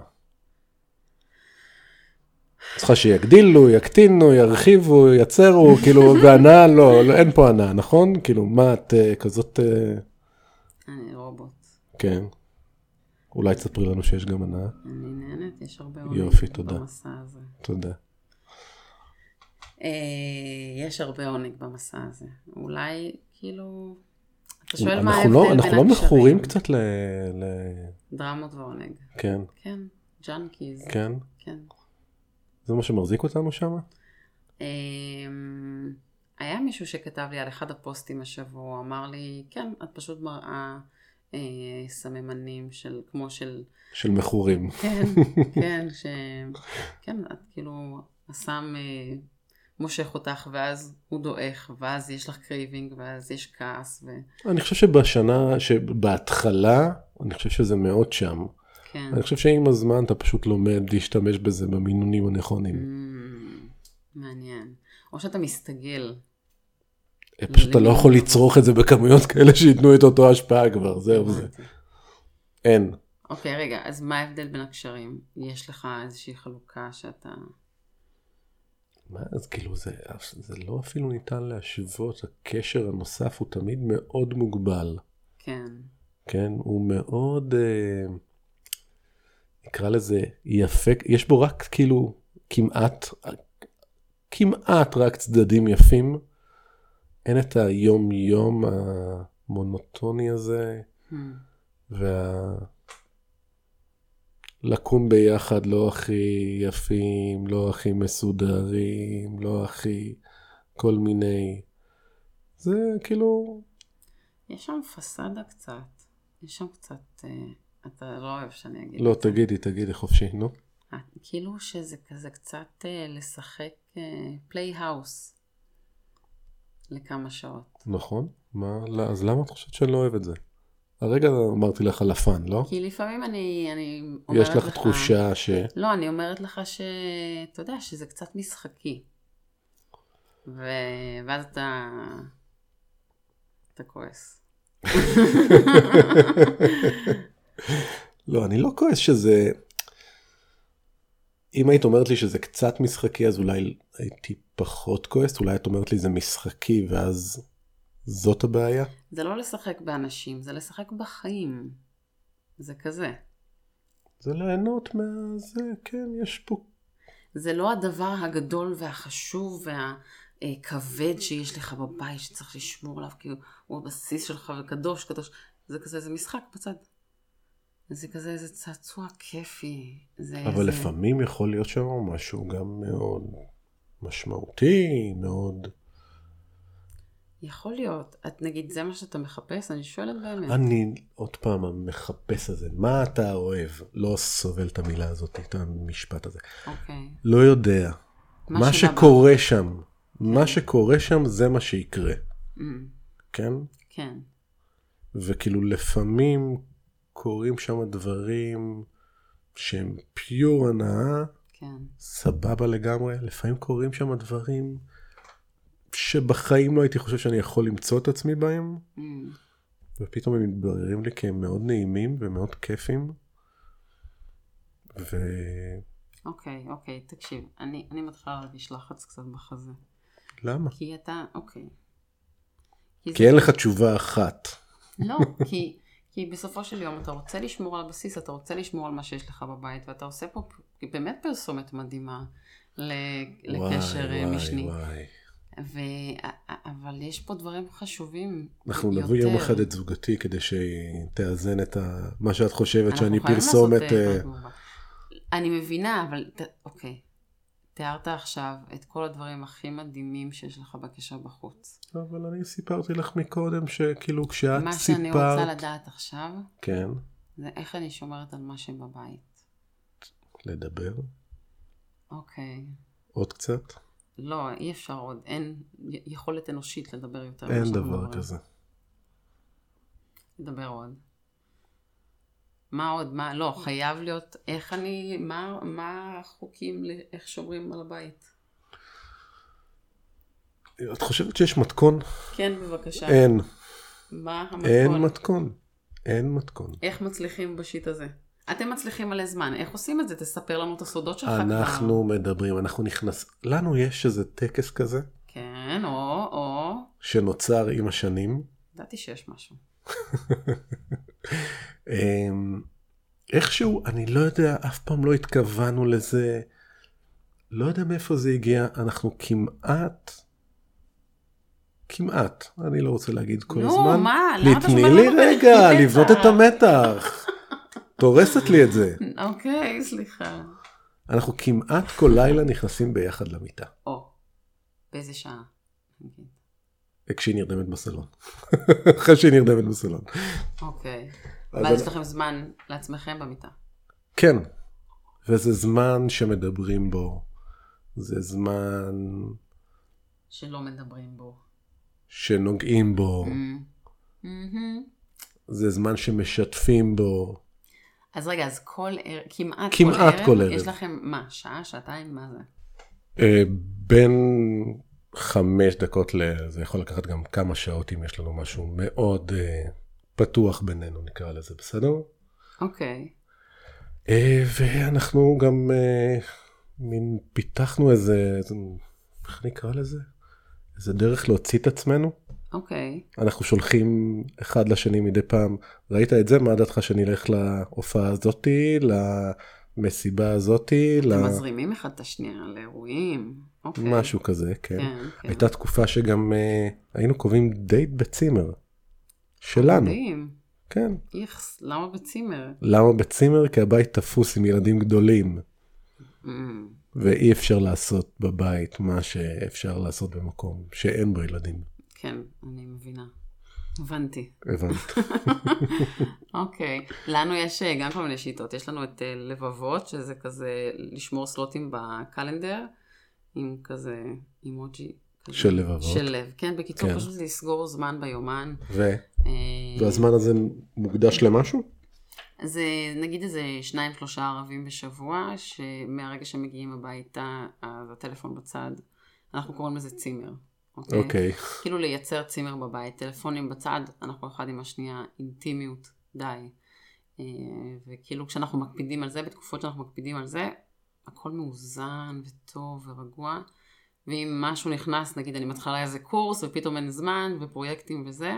Speaker 2: צריכה שיגדילו, יקטינו, ירחיבו, יצרו, כאילו, והנאה לא, לא, אין פה הנאה, נכון? כאילו, מה את אה, כזאת... אה,
Speaker 1: אני אה, רובוט.
Speaker 2: כן. אולי תספרי לנו שיש גם הנאה,
Speaker 1: אני נהנית, יש הרבה
Speaker 2: יופי,
Speaker 1: עונג
Speaker 2: תודה.
Speaker 1: במסע הזה.
Speaker 2: תודה.
Speaker 1: אה, יש הרבה עונג במסע הזה. אולי, כאילו, אתה שואל מה ההבדל
Speaker 2: אנחנו
Speaker 1: בין
Speaker 2: לא,
Speaker 1: הקשרים.
Speaker 2: אנחנו לא מכורים קצת ל... ל...
Speaker 1: דרמות ועונג.
Speaker 2: כן,
Speaker 1: כן, ג'אנקיז.
Speaker 2: כן.
Speaker 1: כן.
Speaker 2: זה מה שמחזיק אותנו שם?
Speaker 1: אמ, היה מישהו שכתב לי על אחד הפוסטים השבוע, הוא אמר לי, כן, את פשוט מראה אה, סממנים של, כמו של,
Speaker 2: של מכורים.
Speaker 1: כן, כן, ש... כן, את כאילו, הסם אה, מושך אותך, ואז הוא דועך, ואז יש לך קרייבינג, ואז יש כעס,
Speaker 2: אני חושב שבשנה, שבהתחלה, אני חושב שזה מאוד שם.
Speaker 1: וכן.
Speaker 2: אני חושב שעם הזמן אתה פשוט לומד להשתמש בזה במינונים הנכונים.
Speaker 1: אמ, מעניין. או שאתה מסתגל.
Speaker 2: פשוט אתה לא יכול לצרוך את זה בכמויות כאלה שייתנו את אותו השפעה כבר, זהו זה.
Speaker 1: הבנתי.
Speaker 2: אין.
Speaker 1: אוקיי, רגע, אז מה ההבדל בין הקשרים? יש לך איזושהי חלוקה שאתה...
Speaker 2: מה, אז כאילו זה, זה לא אפילו ניתן להשוות, הקשר הנוסף הוא תמיד מאוד מוגבל.
Speaker 1: כן.
Speaker 2: כן, הוא מאוד, אה, נקרא לזה יפה, יש בו רק כאילו כמעט, כמעט רק צדדים יפים. אין את היום יום המונוטוני הזה,
Speaker 1: Hmm.
Speaker 2: וה... לקום ביחד לא הכי יפים, לא הכי מסודרים, לא הכי כל מיני. זה כאילו,
Speaker 1: יש שם פסאדה קצת. יש שם קצת... אה, אתה לא אוהב שאני אגיד.
Speaker 2: לא, תגידי, תגידי חופשי, נו.
Speaker 1: אה, כאילו שזה כזה קצת אה, לשחק פלייהאוס לכמה שעות.
Speaker 2: נכון, מה, לא, אז למה את חושבת שאני לא אוהב את זה? הרגע אמרתי לך על הפאן, לא?
Speaker 1: כי לפעמים אני, אני אומרת
Speaker 2: יש
Speaker 1: לך...
Speaker 2: לך תחושה ש...
Speaker 1: לא, אני אומרת לך ש... אתה יודע, שזה קצת משחקי. ו... ואז אתה... אתה כועס.
Speaker 2: לא, אני לא כועס שזה... אם היית אומרת לי שזה קצת משחקי, אז אולי הייתי פחות כועס, אולי את אומרת לי זה משחקי, ואז זאת הבעיה?
Speaker 1: זה לא לשחק באנשים, זה לשחק בחיים. זה כזה.
Speaker 2: זה ליהנות מה... זה, כן, יש פה...
Speaker 1: זה לא הדבר הגדול והחשוב והכבד שיש לך בבית שצריך לשמור עליו, כי הוא הבסיס שלך וקדוש, קדוש. זה כזה, זה משחק בצד. זה כזה, זה צעצוע כיפי. זה,
Speaker 2: אבל
Speaker 1: אה, זה...
Speaker 2: לפעמים יכול להיות שם משהו גם מאוד משמעותי, מאוד...
Speaker 1: יכול להיות. את נגיד, זה מה שאתה מחפש? אני שואלת באמת.
Speaker 2: אני עוד פעם המחפש הזה, מה אתה אוהב? לא סובל את המילה הזאת, את המשפט הזה.
Speaker 1: אוקיי.
Speaker 2: לא יודע.
Speaker 1: מה
Speaker 2: מה
Speaker 1: שבא
Speaker 2: שקורה שם, מה שקורה שם זה מה שיקרה,
Speaker 1: אמ,
Speaker 2: כן?
Speaker 1: כן.
Speaker 2: וכאילו לפעמים קורים שם דברים שהם פיור הנאה,
Speaker 1: כן.
Speaker 2: סבבה לגמרי, לפעמים קורים שם דברים שבחיים לא הייתי חושב שאני יכול למצוא את עצמי בהם,
Speaker 1: Mm.
Speaker 2: ופתאום הם מתבררים לי כי הם מאוד נעימים ומאוד כיפים. ולמה?
Speaker 1: אוקיי, אוקיי, תקשיב, אני, אני מתחילה להרגיש לחץ קצת בחזה. כי אתה, אוקיי.
Speaker 2: כי אין לך תשובה אחת.
Speaker 1: לא, כי, כי בסופו של יום אתה רוצה לשמור על הבסיס, אתה רוצה לשמור על מה שיש לך בבית, ואתה עושה פה פ- באמת פרסומת מדהימה ל, לקשר
Speaker 2: וואי,
Speaker 1: אה,
Speaker 2: וואי,
Speaker 1: משני.
Speaker 2: וואי.
Speaker 1: ו, א- א- אבל יש פה דברים חשובים
Speaker 2: אנחנו
Speaker 1: יותר.
Speaker 2: נביא יום אחד את זוגתי כדי שהיא תאזן את ה... מה שאת חושבת
Speaker 1: אנחנו
Speaker 2: שאני
Speaker 1: חייבים
Speaker 2: פרסומת...
Speaker 1: לעשות,
Speaker 2: אה,
Speaker 1: אה, תגובה. אני מבינה, אבל ת- אוקיי. תיארת עכשיו את כל הדברים הכי מדהימים שיש לך בקשר בחוץ.
Speaker 2: אבל אני סיפרתי לך מקודם שכאילו כשאת
Speaker 1: מה שאני רוצה
Speaker 2: סיפרת...
Speaker 1: לדעת עכשיו,
Speaker 2: כן,
Speaker 1: זה איך אני שומרת על מה שבבית.
Speaker 2: לדבר
Speaker 1: אוקיי.
Speaker 2: עוד קצת.
Speaker 1: לא, אי אפשר עוד. אין י- יכולת אנושית לדבר יותר. ממה
Speaker 2: אין
Speaker 1: שאנחנו
Speaker 2: דבר
Speaker 1: מדברים.
Speaker 2: כזה.
Speaker 1: לדבר עוד. מה עוד? מה? לא, חייב להיות איך אני... מה, מה החוקים לאיך שומרים על הבית?
Speaker 2: את חושבת שיש מתכון?
Speaker 1: כן, בבקשה.
Speaker 2: אין.
Speaker 1: מה המתכון?
Speaker 2: אין מתכון. אין מתכון.
Speaker 1: איך מצליחים בשיט הזה? אתם מצליחים מלא זמן, איך עושים את זה? תספר לנו את הסודות שלך כבר.
Speaker 2: אנחנו מדברים, אנחנו נכנס... לנו יש איזה טקס כזה
Speaker 1: כן, או, או,
Speaker 2: שנוצר עם השנים.
Speaker 1: ידעתי שיש משהו.
Speaker 2: אמ, איכשהו, אני לא יודע, אף פעם לא התכוונו לזה. לא יודע מאיפה זה הגיע, אנחנו כמעט, כמעט, אני לא רוצה להגיד כל
Speaker 1: נו,
Speaker 2: הזמן.
Speaker 1: מה?
Speaker 2: לי,
Speaker 1: למה אתה שומר
Speaker 2: תני לי
Speaker 1: לנו את
Speaker 2: רגע,
Speaker 1: המתח?
Speaker 2: לבנות את המתח. את הורסת לי את זה.
Speaker 1: אוקיי, סליחה.
Speaker 2: אנחנו כמעט כל לילה נכנסים ביחד למיטה,
Speaker 1: או, באיזה שעה? נגיד.
Speaker 2: כשהיא נרדמת בסלון. אחרי שהיא נרדמת בסלון.
Speaker 1: אוקיי.
Speaker 2: אז
Speaker 1: ואז
Speaker 2: אני-
Speaker 1: יש לכם זמן לעצמכם במיטה.
Speaker 2: כן. וזה זמן שמדברים בו. זה זמן
Speaker 1: שלא מדברים בו.
Speaker 2: שנוגעים בו,
Speaker 1: אמ, אמ.
Speaker 2: זה זמן שמשתפים בו.
Speaker 1: אז רגע, אז כל ערב, כמעט כל
Speaker 2: כמעט
Speaker 1: ערב,
Speaker 2: כל ערב.
Speaker 1: יש לכם מה, שעה, שעתיים, מה זה?
Speaker 2: אה, בין חמש דקות ל... זה יכול לקחת גם כמה שעות אם יש לנו משהו מאוד אה, פתוח בינינו, נקרא לזה, בסדר?
Speaker 1: אוקיי.
Speaker 2: אה, ואנחנו גם אה, מין פיתחנו איזה, איזה- איך נקרא לזה? איזה דרך להוציא את עצמנו.
Speaker 1: אוקיי.
Speaker 2: אנחנו שולחים אחד לשני מדי פעם, ראית את זה? מה דעתך שנלך להופעה הזאתי, למסיבה הזאתי,
Speaker 1: אתם
Speaker 2: ל-
Speaker 1: מזרימים אחד את השנייה לאירועים. אוקיי.
Speaker 2: משהו כזה, כן.
Speaker 1: כן, כן.
Speaker 2: הייתה תקופה שגם אה, היינו קובעים דייט בצימר. שלנו,
Speaker 1: מדהים.
Speaker 2: כן.
Speaker 1: איכס, למה בצימר?
Speaker 2: למה בצימר? כי הבית תפוס עם ילדים גדולים,
Speaker 1: אמ,
Speaker 2: ואי אפשר לעשות בבית מה שאפשר לעשות במקום שאין בו ילדים.
Speaker 1: כן, אני מבינה. הבנתי.
Speaker 2: הבנת.
Speaker 1: אוקיי. לנו יש אה, גם כל מיני שיטות. יש לנו את אה, לבבות, שזה כזה לשמור סלוטים בקלנדר, עם כזה אימוג'י. כזה.
Speaker 2: של לבבות.
Speaker 1: של לב. כן, בקיצור,
Speaker 2: כן.
Speaker 1: פשוט לסגור זמן ביומן.
Speaker 2: ו...
Speaker 1: אה,
Speaker 2: והזמן הזה מוקדש למשהו?
Speaker 1: זה אה, נגיד איזה שניים שלושה ערבים בשבוע, שמהרגע שהם מגיעים הביתה, אז הטלפון בצד, אנחנו קוראים לזה צימר. אוקיי?
Speaker 2: אוקיי.
Speaker 1: כאילו לייצר צימר בבית, טלפונים בצד, אנחנו אחד עם השנייה, אינטימיות, די. אה, וכאילו כשאנחנו מקפידים על זה, בתקופות שאנחנו מקפידים על זה, הכל מאוזן וטוב ורגוע. ואם משהו נכנס, נגיד אני מתחילה איזה קורס ופתאום אין זמן ופרויקטים וזה,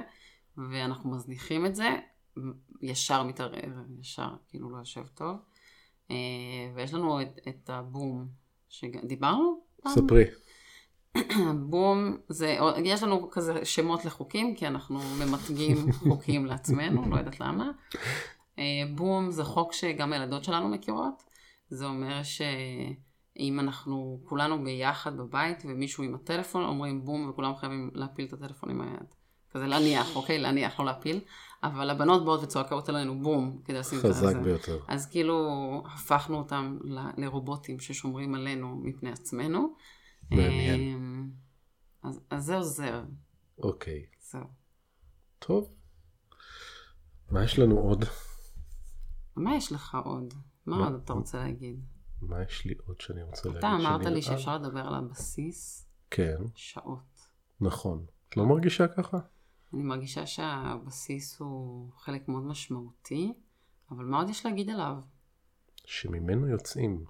Speaker 1: ואנחנו מזניחים את זה, ישר מתערער, ישר כאילו לא יושב טוב. אה, ויש לנו את, את הבום, שדיברנו? פעם?
Speaker 2: ספרי.
Speaker 1: בום, זה, יש לנו כזה שמות לחוקים, כי אנחנו ממתגים חוקים לעצמנו, לא יודעת למה. אה, בום זה חוק שגם הילדות שלנו מכירות. זה אומר שאם אנחנו כולנו ביחד בבית ומישהו עם הטלפון, אומרים בום וכולם חייבים להפיל את הטלפון עם היד. כזה להניח, אוקיי? להניח, לא להפיל. אבל הבנות באות וצועקות עלינו בום, כדי לשים את זה.
Speaker 2: חזק ביותר.
Speaker 1: אז כאילו הפכנו אותם ל- לרובוטים ששומרים עלינו מפני עצמנו.
Speaker 2: מעניין.
Speaker 1: אמ, אז, אז זה עוזר,
Speaker 2: אוקיי.
Speaker 1: זהו.
Speaker 2: טוב. מה יש לנו עוד?
Speaker 1: מה יש לך עוד? מה
Speaker 2: מה-
Speaker 1: עוד אתה רוצה להגיד?
Speaker 2: מה יש לי עוד שאני רוצה להגיד?
Speaker 1: אתה אמרת
Speaker 2: שאני-
Speaker 1: לי
Speaker 2: אה,
Speaker 1: שאפשר לדבר על הבסיס
Speaker 2: כן,
Speaker 1: שעות.
Speaker 2: נכון. את לא מרגישה ככה?
Speaker 1: אני מרגישה שהבסיס הוא חלק מאוד משמעותי, אבל מה עוד יש להגיד עליו?
Speaker 2: שממנו יוצאים.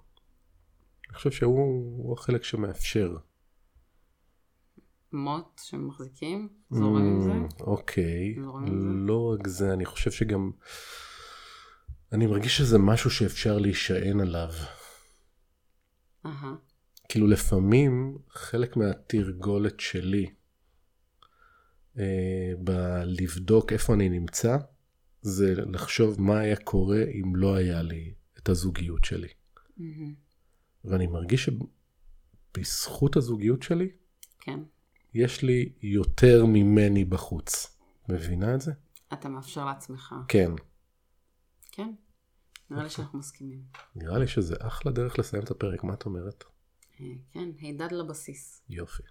Speaker 2: אני חושב שהוא הוא החלק שמאפשר.
Speaker 1: מוט שמחזיקים? זורם עם זה?
Speaker 2: Mm, אוקיי.
Speaker 1: זורם עם
Speaker 2: לא רק זה, אני חושב שגם... אני מרגיש שזה משהו שאפשר להישען עליו.
Speaker 1: אהה.
Speaker 2: כאילו לפעמים חלק מהתרגולת שלי אה, בלבדוק איפה אני נמצא, זה לחשוב מה היה קורה אם לא היה לי את הזוגיות שלי.
Speaker 1: מהמם.
Speaker 2: ואני מרגיש שבזכות הזוגיות שלי,
Speaker 1: כן.
Speaker 2: יש לי יותר ממני בחוץ. מבינה את זה?
Speaker 1: אתה מאפשר לעצמך.
Speaker 2: כן. אוקיי.
Speaker 1: כן. נראה לי שאנחנו מסכימים.
Speaker 2: נראה לי שזה אחלה דרך לסיים את הפרק, מה את אומרת?
Speaker 1: אה, כן, הידד לבסיס.
Speaker 2: יופי.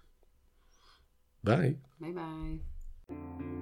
Speaker 2: ביי.
Speaker 1: ביי ביי.